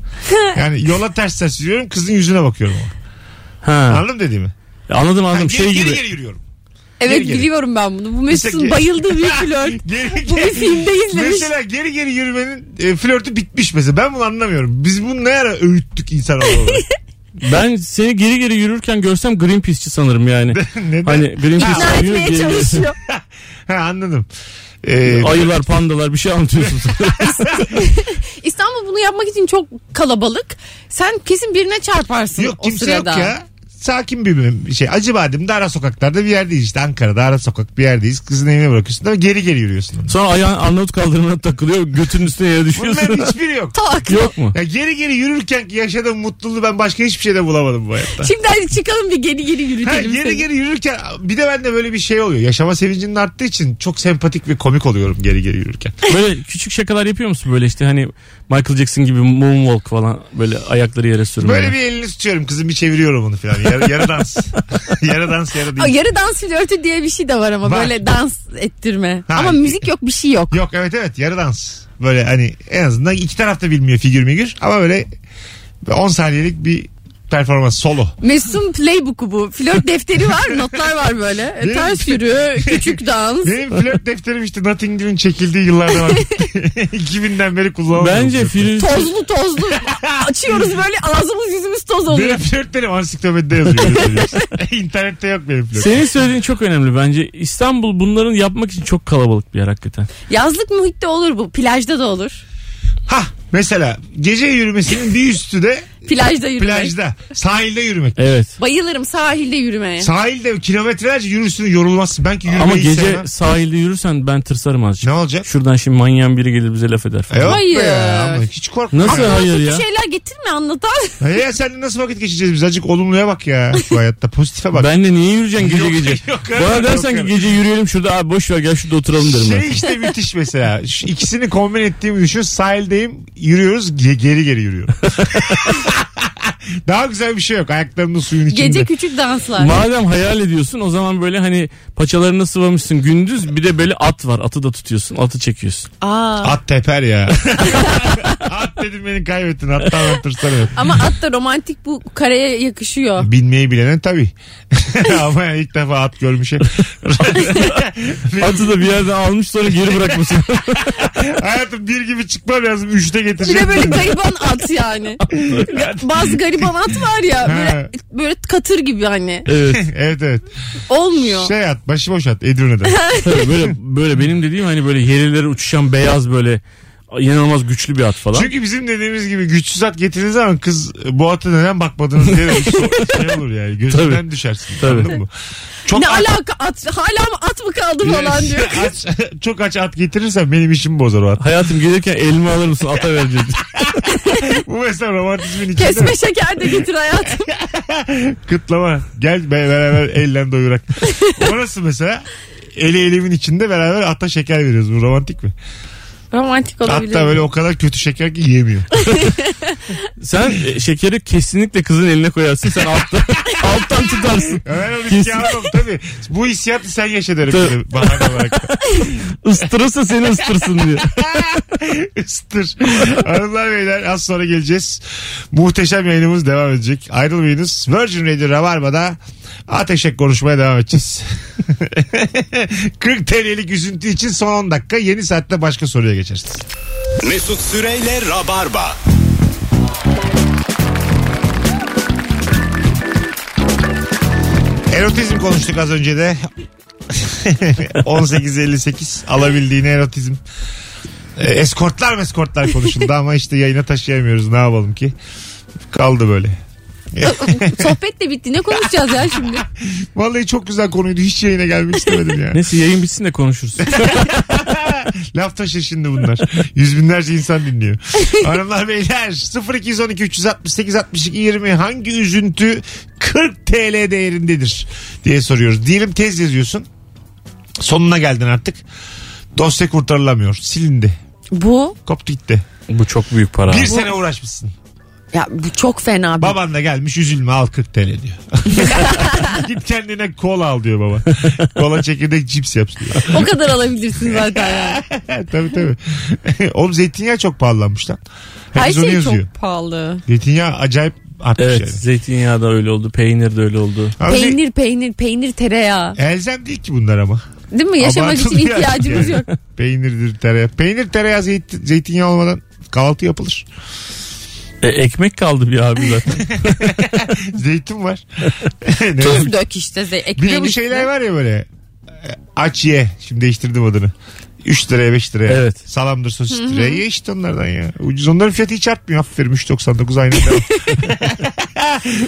Speaker 2: Yani yola ters ters yürüyorum kızın yüzüne bakıyorum ona.
Speaker 4: Ha.
Speaker 2: Anladın mı dediğimi?
Speaker 4: Anladım
Speaker 2: Yani
Speaker 4: anladım.
Speaker 2: geri,
Speaker 4: Şey
Speaker 2: geri,
Speaker 4: gibi.
Speaker 2: geri yürüyorum.
Speaker 3: Evet
Speaker 2: Geri geri.
Speaker 3: biliyorum ben bunu. Bu Mesut'un
Speaker 2: Mesela- <laughs>
Speaker 3: bayıldığı bir flört.
Speaker 2: Geri-
Speaker 3: Bu bir filmde izlemiş.
Speaker 2: Mesela geri geri yürümenin e, flörtü bitmiş mesela. Ben bunu anlamıyorum. Biz bunu ne ara öğüttük insan
Speaker 3: <laughs>
Speaker 2: olarak?
Speaker 4: Ben seni geri geri yürürken görsem Greenpeace'çi sanırım yani.
Speaker 2: <laughs> Neden?
Speaker 4: hani
Speaker 3: İkna
Speaker 4: Greenpeace'çi yürüyor,
Speaker 3: etmeye
Speaker 4: geri-
Speaker 3: çalışıyor.
Speaker 2: ha, anladım. Ee,
Speaker 4: <laughs> Ayılar, pandalar bir şey anlatıyorsun.
Speaker 3: İstanbul bunu yapmak için çok kalabalık. Sen kesin birine çarparsın
Speaker 2: yok
Speaker 3: o
Speaker 2: kimse yok
Speaker 3: sırada.
Speaker 2: ya. Sakin bir bir şey. Acıbadem'de ara sokaklarda bir yerdeyiz işte. Ankara'da ara sokak bir yerdeyiz. Kızın evine bırakıyorsun ama geri geri yürüyorsun. onu.
Speaker 4: <laughs> Sonra ayağın Arnavut kaldırımına takılıyor. Götünün üstüne yere düşüyorsun.
Speaker 2: Bunların hiçbiri yok.
Speaker 3: Tak.
Speaker 4: <laughs> Yok mu?
Speaker 2: Ya geri geri yürürken yaşadığım mutluluğu ben başka hiçbir şeyde bulamadım bu hayatta.
Speaker 3: Şimdi hadi çıkalım bir geri geri
Speaker 2: Ha,
Speaker 3: yürütelim
Speaker 2: geri
Speaker 3: seni.
Speaker 2: geri yürürken bir de bende böyle bir şey oluyor. Yaşama sevincinin arttığı için çok sempatik ve komik oluyorum geri geri yürürken.
Speaker 4: Böyle küçük şakalar yapıyor musun? Böyle işte hani Michael Jackson gibi moonwalk falan böyle ayakları yere sürme.
Speaker 2: Böyle bir elini tutuyorum kızım bir çeviriyorum onu falan. Yarı, yarı dans. <laughs> yarı dans yarı
Speaker 3: Aa,
Speaker 2: değil.
Speaker 3: Yarı dans flörtü diye bir şey de var ama
Speaker 2: Var.
Speaker 3: böyle dans ettirme.
Speaker 2: Ha.
Speaker 3: Ama müzik yok bir şey yok.
Speaker 2: Yok evet evet yarı dans. Böyle hani en azından iki tarafta bilmiyor figür migür ama böyle 10 saniyelik bir performans solo.
Speaker 3: Mesut'un playbook'u bu. Flört defteri var notlar var böyle. E,
Speaker 2: Benim-
Speaker 3: Ters yürü, küçük dans.
Speaker 2: Benim flört defterim işte Nothing Hill'in çekildiği yıllardan <laughs> artık. 2000'den beri kullanılmıyor.
Speaker 4: Bence Firuze
Speaker 3: Tozlu tozlu açıyoruz böyle ağzımız yüzümüz toz oluyor.
Speaker 2: Benim flörtlerim ansiklopedide yazıyor. <laughs> İnternette yok benim flört.
Speaker 4: senin söylediğin çok önemli bence. İstanbul bunların yapmak için çok kalabalık bir yer hakikaten.
Speaker 3: Yazlık muhitte olur bu. Plajda da olur.
Speaker 2: Ha mesela gece yürümesinin bir üstü de
Speaker 3: Plajda yürümek.
Speaker 2: plajda. Sahilde yürümek.
Speaker 4: Evet.
Speaker 3: Bayılırım sahilde yürümeye.
Speaker 2: Sahilde kilometrelerce yürürsün yorulmazsın. Ben ki yürümeyi
Speaker 4: Ama
Speaker 2: hiç
Speaker 4: gece
Speaker 2: sevmem.
Speaker 4: sahilde yürürsen ben tırsarım azıcık.
Speaker 2: Ne olacak?
Speaker 4: Şuradan şimdi manyağın biri gelir bize laf eder
Speaker 2: E
Speaker 4: falan.
Speaker 2: yok be
Speaker 3: Hayır.
Speaker 2: Ya, ama hiç korkma.
Speaker 4: Nasıl hayır
Speaker 3: Bir
Speaker 4: ya?
Speaker 3: şeyler getirme anlatan.
Speaker 2: Ya, ya seninle nasıl vakit geçeceğiz biz? Azıcık olumluya bak ya bu hayatta. Pozitife bak.
Speaker 4: Ben de niye yürüyeceksin gece
Speaker 2: Yok,
Speaker 4: gece?
Speaker 2: <laughs> yok abi,
Speaker 4: Bana
Speaker 2: yok
Speaker 4: dersen ki
Speaker 2: abi.
Speaker 4: gece yürüyelim şurada abi boş ver gel şurada oturalım derim ben.
Speaker 2: Şey işte müthiş mesela. Şu ikisini kombin ettiğimi düşün. Sahildeyim yürüyoruz <laughs> ge- geri geri yürüyorum. Daha güzel bir şey yok. Ayaklarımın suyun içinde.
Speaker 3: Gece küçük danslar.
Speaker 4: Madem hayal ediyorsun o zaman böyle hani paçalarını sıvamışsın gündüz bir de böyle at var atı da tutuyorsun atı çekiyorsun.
Speaker 3: Aa.
Speaker 2: At teper ya. <laughs> At dedim beni kaybettin. Hatta anlatırsana.
Speaker 3: Ama at da romantik bu karaya yakışıyor.
Speaker 2: Binmeyi bilene tabii. <laughs> Ama ilk defa at görmüşe.
Speaker 4: Atı da bir yerden almış sonra
Speaker 2: <laughs>
Speaker 4: geri bırakmışsın.
Speaker 2: Hayatım bir gibi çıkmam lazım. Üçte
Speaker 3: Bir
Speaker 2: getireceğim.
Speaker 3: de böyle gariban at yani. Bazı gariban at var ya
Speaker 2: Ha.
Speaker 3: böyle, böyle katır gibi hani.
Speaker 4: evet.
Speaker 2: evet evet.
Speaker 3: Olmuyor.
Speaker 2: Şey at. Başıboş at. Edirne'den.
Speaker 4: Tabii böyle böyle benim dediğim hani böyle yerlere uçuşan beyaz böyle inanılmaz güçlü bir at falan.
Speaker 2: Çünkü bizim dediğimiz gibi güçsüz at getirdiğiniz zaman kız e, bu ata neden bakmadınız diye de bir sor- şey olur yani. Gözünden
Speaker 4: Tabii.
Speaker 2: düşersin.
Speaker 4: Tabii.
Speaker 2: Anladın mı? Çok
Speaker 3: Ne
Speaker 2: at- <laughs> Şey,
Speaker 3: alaka at? Hala mı at mı kaldı falan diyor.
Speaker 2: Aç- çok aç at getirirsen benim işimi bozar o at.
Speaker 4: Hayatım gelirken elma alır mısın ata vereceğiz.
Speaker 2: <laughs> Bu mesela romantizmin içinde
Speaker 3: Kesme şeker de getir hayatım.
Speaker 2: kıtlama. Gel be- beraber elle doyurak. Orası mesela eli elimin içinde beraber ata şeker veriyoruz. Bu romantik mi?
Speaker 3: <laughs> Romantik olabilir.
Speaker 2: Hatta böyle o kadar kötü şeker ki yiyemiyor. <laughs>
Speaker 4: Sen e, şekeri kesinlikle kızın eline koyarsın sen altta, alttan sen tutarsın.
Speaker 2: Ömer onu isyanım tabii. Bu hissiyatı sen yaşa derim
Speaker 4: Tabii.
Speaker 2: bir de bahane olarak.
Speaker 4: Istırırsa seni ıstırsın diyor.
Speaker 2: Istır. <laughs> Hanımlar beyler az sonra geleceğiz. Muhteşem yayınımız devam edecek. Ayrılmayınız. Virgin Radio Rabarba'da ateşek konuşmaya devam edeceğiz. <laughs> 40 TL'lik üzüntü için son 10 dakika. Yeni saatte başka soruya geçeriz.
Speaker 1: Mesut Süreyle Rabarba.
Speaker 2: Erotizm konuştuk az önce de. <laughs> 18.58 alabildiğine erotizm. E, eskortlar meskortlar konuşuldu ama işte yayına taşıyamıyoruz ne yapalım ki. Kaldı böyle.
Speaker 3: <laughs> Sohbet de bitti. Ne konuşacağız ya şimdi?
Speaker 2: Vallahi çok güzel konuydu. Hiç yayına gelmek istemedim ya.
Speaker 4: Neyse yayın bitsin de konuşuruz.
Speaker 2: Laf taşı şimdi
Speaker 3: <laughs>
Speaker 2: bunlar. Yüz binlerce insan dinliyor. Hanımlar beyler 0212 368 62 20 hangi üzüntü 40 TL değerindedir diye soruyoruz. Diyelim tez yazıyorsun. Sonuna geldin artık. Dosya kurtarılamıyor. Silindi.
Speaker 3: Bu
Speaker 2: Koptu gitti.
Speaker 4: Bu çok büyük para.
Speaker 2: Bir sene uğraşmışsın.
Speaker 3: ya bu çok fena bir.
Speaker 2: Baban da gelmiş üzülme al 40 TL
Speaker 3: <laughs>
Speaker 2: diyor. Git kendine kola al diyor baba. Kola çekirdek cips yap diyor.
Speaker 3: O kadar alabilirsin zaten yani.
Speaker 2: tabii tabii. <laughs> Oğlum zeytinyağı çok pahalanmış lan.
Speaker 3: Her
Speaker 2: Herkes onu
Speaker 3: şey
Speaker 2: yazıyor.
Speaker 3: çok pahalı.
Speaker 2: Zeytinyağı acayip artmış
Speaker 4: Evet
Speaker 2: yani.
Speaker 4: zeytinyağı da öyle oldu. Peynir de öyle oldu.
Speaker 2: Ama ze-
Speaker 3: Peynir peynir peynir tereyağı.
Speaker 2: Elzem değil ki bunlar ama.
Speaker 3: Değil mi? Yaşamak için
Speaker 2: Abartılı yani.
Speaker 3: ihtiyacımız yok.
Speaker 2: Peynirdir tereyağı. Peynir tereyağı zeyt- zeytinyağı olmadan kahvaltı yapılır. <laughs>
Speaker 4: E, ekmek kaldı bir abi zaten.
Speaker 2: Zeytin var. <laughs> Ne
Speaker 3: Tuz
Speaker 2: var?
Speaker 3: dök işte ze-
Speaker 2: bir
Speaker 3: ekmeğin
Speaker 2: de bu
Speaker 3: üstüne.
Speaker 2: şeyler var ya böyle. e, Aç ye. Şimdi değiştirdim adını. 3 liraya 5 liraya.
Speaker 4: Evet.
Speaker 2: Salamdır sosis liraya. Ye işte onlardan ya. Ucuz. Onların fiyatı hiç artmıyor. Aferin 3.99 aynı.
Speaker 3: <laughs>
Speaker 2: devam.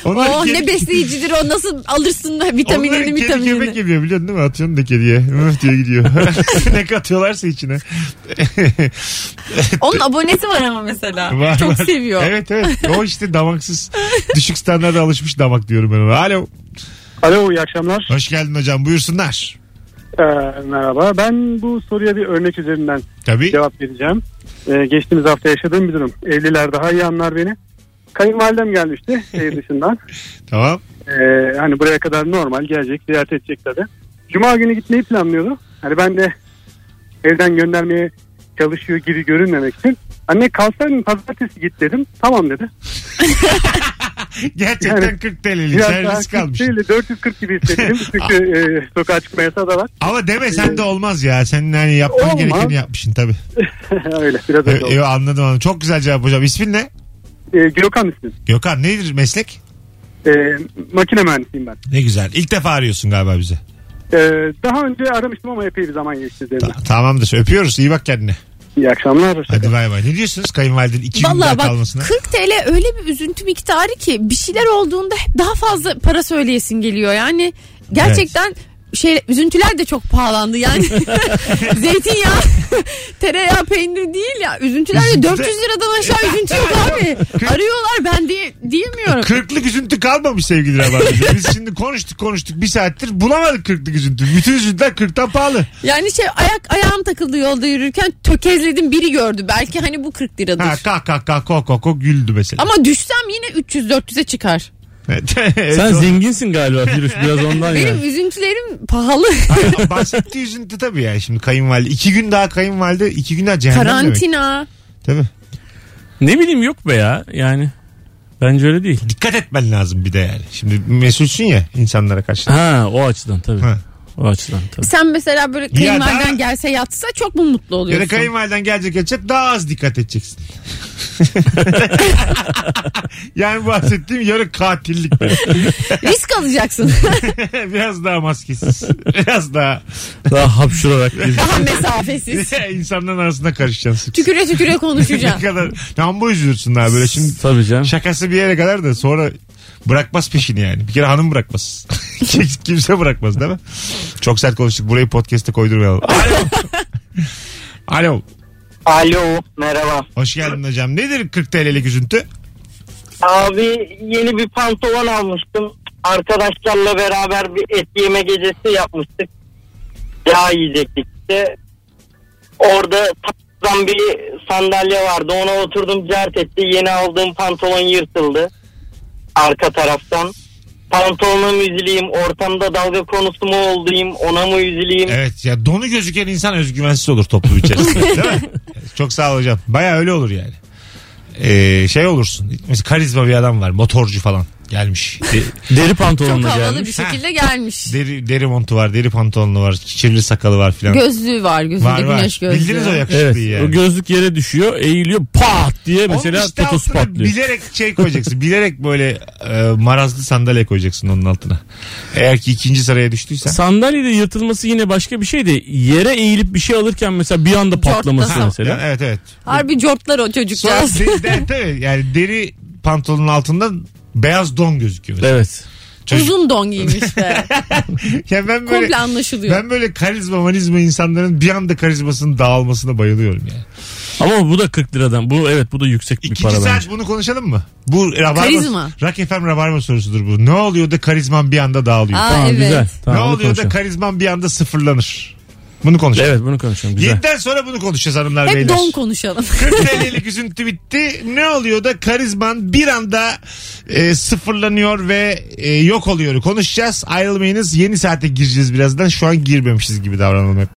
Speaker 2: Onlar
Speaker 3: Oh
Speaker 2: kendi-
Speaker 3: ne besleyicidir o nasıl alırsın da
Speaker 2: Onların
Speaker 3: vitaminini
Speaker 2: kedi köpek
Speaker 3: vitaminini.
Speaker 2: yemiyor biliyorsun değil mi? Atıyorsun da kediye. <laughs> Öf diye gidiyor.
Speaker 3: <laughs>
Speaker 2: ne katıyorlarsa içine.
Speaker 3: Onun abonesi var ama
Speaker 2: <laughs>
Speaker 3: mesela.
Speaker 2: Var,
Speaker 3: <laughs> Çok
Speaker 2: var.
Speaker 3: seviyor.
Speaker 2: Evet evet. O işte
Speaker 3: <laughs>
Speaker 2: damaksız. Düşük standarda alışmış damak diyorum ben ona. Alo.
Speaker 6: Alo iyi akşamlar.
Speaker 2: Hoş geldin hocam. Buyursunlar.
Speaker 6: Ee, merhaba. Ben bu soruya bir örnek üzerinden
Speaker 2: Tabii.
Speaker 6: cevap vereceğim. Ee, geçtiğimiz hafta yaşadığım bir durum. Evliler daha iyi anlar beni. Kayınvalidem gelmişti şehir dışından.
Speaker 2: Tamam.
Speaker 6: Ee, hani buraya kadar normal gelecek, ziyaret edecek tabii. Cuma günü gitmeyi planlıyordu. Hani ben de evden göndermeye çalışıyor gibi görünmemek için. Anne kalsaydın pazartesi git dedim. Tamam dedi.
Speaker 2: Gerçekten
Speaker 6: Yani
Speaker 2: 40 TL'lik servis
Speaker 6: daha
Speaker 2: kalmış.
Speaker 6: değil de 440 gibi hissettim. Çünkü e, sokağa çıkma yasağı da var. <laughs>
Speaker 2: Ama deme sen de olmaz ya. Senin hani yapman
Speaker 6: Olmaz.
Speaker 2: gerekeni yapmışsın tabii.
Speaker 6: öyle biraz öyle
Speaker 2: Evet,
Speaker 6: oldu.
Speaker 2: evet, anladım anladım. Çok güzel cevap hocam. İsmin ne?
Speaker 6: Ee, Gökhan ismim.
Speaker 2: Gökhan nedir meslek?
Speaker 6: Ee, makine mühendisiyim ben.
Speaker 2: Ne güzel. İlk defa arıyorsun galiba bize.
Speaker 6: Ee, daha önce aramıştım ama epey bir zaman geçti. üzerinden.
Speaker 2: Ta- tamamdır. Öpüyoruz. İyi bak kendine.
Speaker 6: İyi akşamlar. hoşça kalın.
Speaker 2: Hadi bay bay. Ne diyorsunuz kayınvalidenin 2 gün daha
Speaker 3: Vallahi bak
Speaker 2: kalmasına?
Speaker 3: 40 TL öyle bir üzüntü miktarı ki bir şeyler olduğunda hep daha fazla para söyleyesin geliyor. Yani gerçekten şey üzüntüler de çok
Speaker 2: <laughs>
Speaker 3: pahalandı. Yani zeytinyağı, <laughs> tereyağı, peynir değil ya. Üzüntüler de
Speaker 2: Üzüntü-
Speaker 3: 400
Speaker 2: <laughs>
Speaker 3: liradan aşağı üzüntü yok abi. Arıyorlar ben diye diyemiyorum.
Speaker 2: Kırklık üzüntü kalmamış sevgili Rabarbacı. Biz şimdi konuştuk konuştuk bir saattir bulamadık kırklık üzüntü. Bütün üzüntüler kırktan pahalı.
Speaker 3: Yani şey ayak ayağım takıldı yolda yürürken tökezledim biri gördü. Belki hani bu 40 liradır.
Speaker 2: Ha kah kah kah kok kok kok güldü mesela.
Speaker 3: Ama düşsem yine 300-400'e çıkar.
Speaker 2: Evet, <laughs>
Speaker 4: Sen
Speaker 2: evet, o-
Speaker 4: zenginsin galiba Firuş biraz ondan ya.
Speaker 3: Benim üzüntülerim pahalı.
Speaker 2: Hayır, bahsettiği üzüntü tabii yani şimdi kayınvalide. iki gün daha kayınvalide iki gün daha cehennem demek.
Speaker 3: Karantina.
Speaker 2: Tabii.
Speaker 4: Ne bileyim yok be ya yani. Bence öyle değil.
Speaker 2: Dikkat etmen lazım bir de yani. Şimdi mesulsün ya insanlara karşı.
Speaker 4: Ha o açıdan tabii.
Speaker 2: Ha.
Speaker 4: O açıdan tabii.
Speaker 3: Sen mesela böyle
Speaker 2: Ya daha-
Speaker 3: kayınvaliden gelse yatsa çok mu mutlu
Speaker 2: Ya da
Speaker 3: oluyorsun?
Speaker 2: kayınvaliden gelecek edecek daha az dikkat
Speaker 3: <laughs>
Speaker 2: edeceksin. <laughs> yani bahsettiğim yarı katillik. böyle. <laughs>
Speaker 3: Risk alacaksın.
Speaker 2: Biraz daha maskesiz. Biraz daha
Speaker 4: Daha hapşurarak girdi.
Speaker 3: Daha mesafesiz.
Speaker 2: <laughs> İnsanların arasında karışacaksın.
Speaker 3: Tüküre tüküre
Speaker 2: ne
Speaker 3: konuşacaksın.
Speaker 2: kadar nambo üzülürsün ha böyle <laughs> şimdi
Speaker 4: Tabii canım.
Speaker 2: şakası bir yere kadar da sonra bırakmaz peşini yani. Bir kere hanım bırakmaz. <laughs> Kimse bırakmaz değil mi? Çok sert konuştuk. Burayı podcast'e koydurmayalım. Alo. Alo.
Speaker 5: Alo merhaba.
Speaker 2: Hoş geldin hocam. Nedir 40 TL'lik üzüntü?
Speaker 5: Abi yeni bir pantolon almıştım. Arkadaşlarla beraber bir et yeme gecesi yapmıştık. Yağ yiyecektik işte. Orada tam bir sandalye vardı. Ona oturdum cert etti. Yeni aldığım pantolon yırtıldı. Arka taraftan. Pantolonum üzüleyim, ortamda dalga konusu mu olayım, ona mı üzüleyim?
Speaker 2: Evet ya donu gözüken insan özgüvensiz olur toplum içerisinde
Speaker 3: <laughs>
Speaker 2: değil mi? Çok sağ ol hocam. Baya öyle olur yani. Ee, şey olursun. Mesela karizma bir adam var. Motorcu falan gelmiş. De-
Speaker 4: Deri
Speaker 3: Çok
Speaker 4: pantolonla
Speaker 3: havalı
Speaker 4: gelmiş.
Speaker 3: bir şekilde gelmiş.
Speaker 2: deri, deri montu var, deri pantolonu var, kirli sakalı var filan.
Speaker 3: Gözlüğü var gözünde
Speaker 2: var var.
Speaker 3: güneş gözlüğü.
Speaker 2: Bildiniz o yakışıklıyı
Speaker 4: Evet.
Speaker 2: yani.
Speaker 4: O gözlük yere düşüyor, eğiliyor, pat diye mesela
Speaker 2: Onun
Speaker 4: işte totosu
Speaker 2: altına
Speaker 4: patlıyor.
Speaker 2: Bilerek şey koyacaksın. bilerek böyle e, marazlı sandalye koyacaksın onun altına. Eğer ki ikinci sıraya düştüysen.
Speaker 4: Sandalyede yırtılması yine başka bir şey de yere eğilip bir şey alırken mesela bir anda patlaması
Speaker 3: Cortlasam.
Speaker 4: mesela.
Speaker 2: Yani evet evet.
Speaker 3: Harbi cortlar o
Speaker 2: Sonra
Speaker 3: çocukcağız.
Speaker 2: de, de- tabii yani deri pantolonun altında beyaz don gözüküyor. mesela.
Speaker 4: Evet.
Speaker 2: Çocuk-
Speaker 3: Uzun don giymiş be.
Speaker 2: Ya ben <laughs> böyle
Speaker 3: Komple anlaşılıyor.
Speaker 2: ben böyle karizma manizma insanların bir anda karizmasının dağılmasına bayılıyorum yani.
Speaker 4: Ama bu da 40 liradan. Bu evet bu da yüksek bir
Speaker 2: İkinci
Speaker 4: para
Speaker 2: saat
Speaker 4: bence.
Speaker 2: bunu konuşalım mı? Bu rabarba,
Speaker 3: Karizma.
Speaker 2: Rock FM rabarba sorusudur bu. Ne oluyor da karizman bir anda dağılıyor?
Speaker 3: Aa,
Speaker 4: Tamam
Speaker 3: evet.
Speaker 4: güzel. Tamam,
Speaker 2: ne
Speaker 4: bunu
Speaker 2: oluyor
Speaker 4: konuşalım.
Speaker 2: da karizman bir anda sıfırlanır? Bunu konuşalım.
Speaker 4: Evet bunu konuşalım güzel.
Speaker 2: Yediden sonra bunu konuşacağız hanımlar
Speaker 3: Hep
Speaker 2: beyler.
Speaker 3: don konuşalım.
Speaker 2: 40 TL'lik üzüntü bitti. Ne oluyor da karizman bir anda e, sıfırlanıyor ve e, yok oluyor. Konuşacağız. Ayrılmayınız. Yeni saate gireceğiz birazdan. Şu an girmemişiz gibi davranalım hep.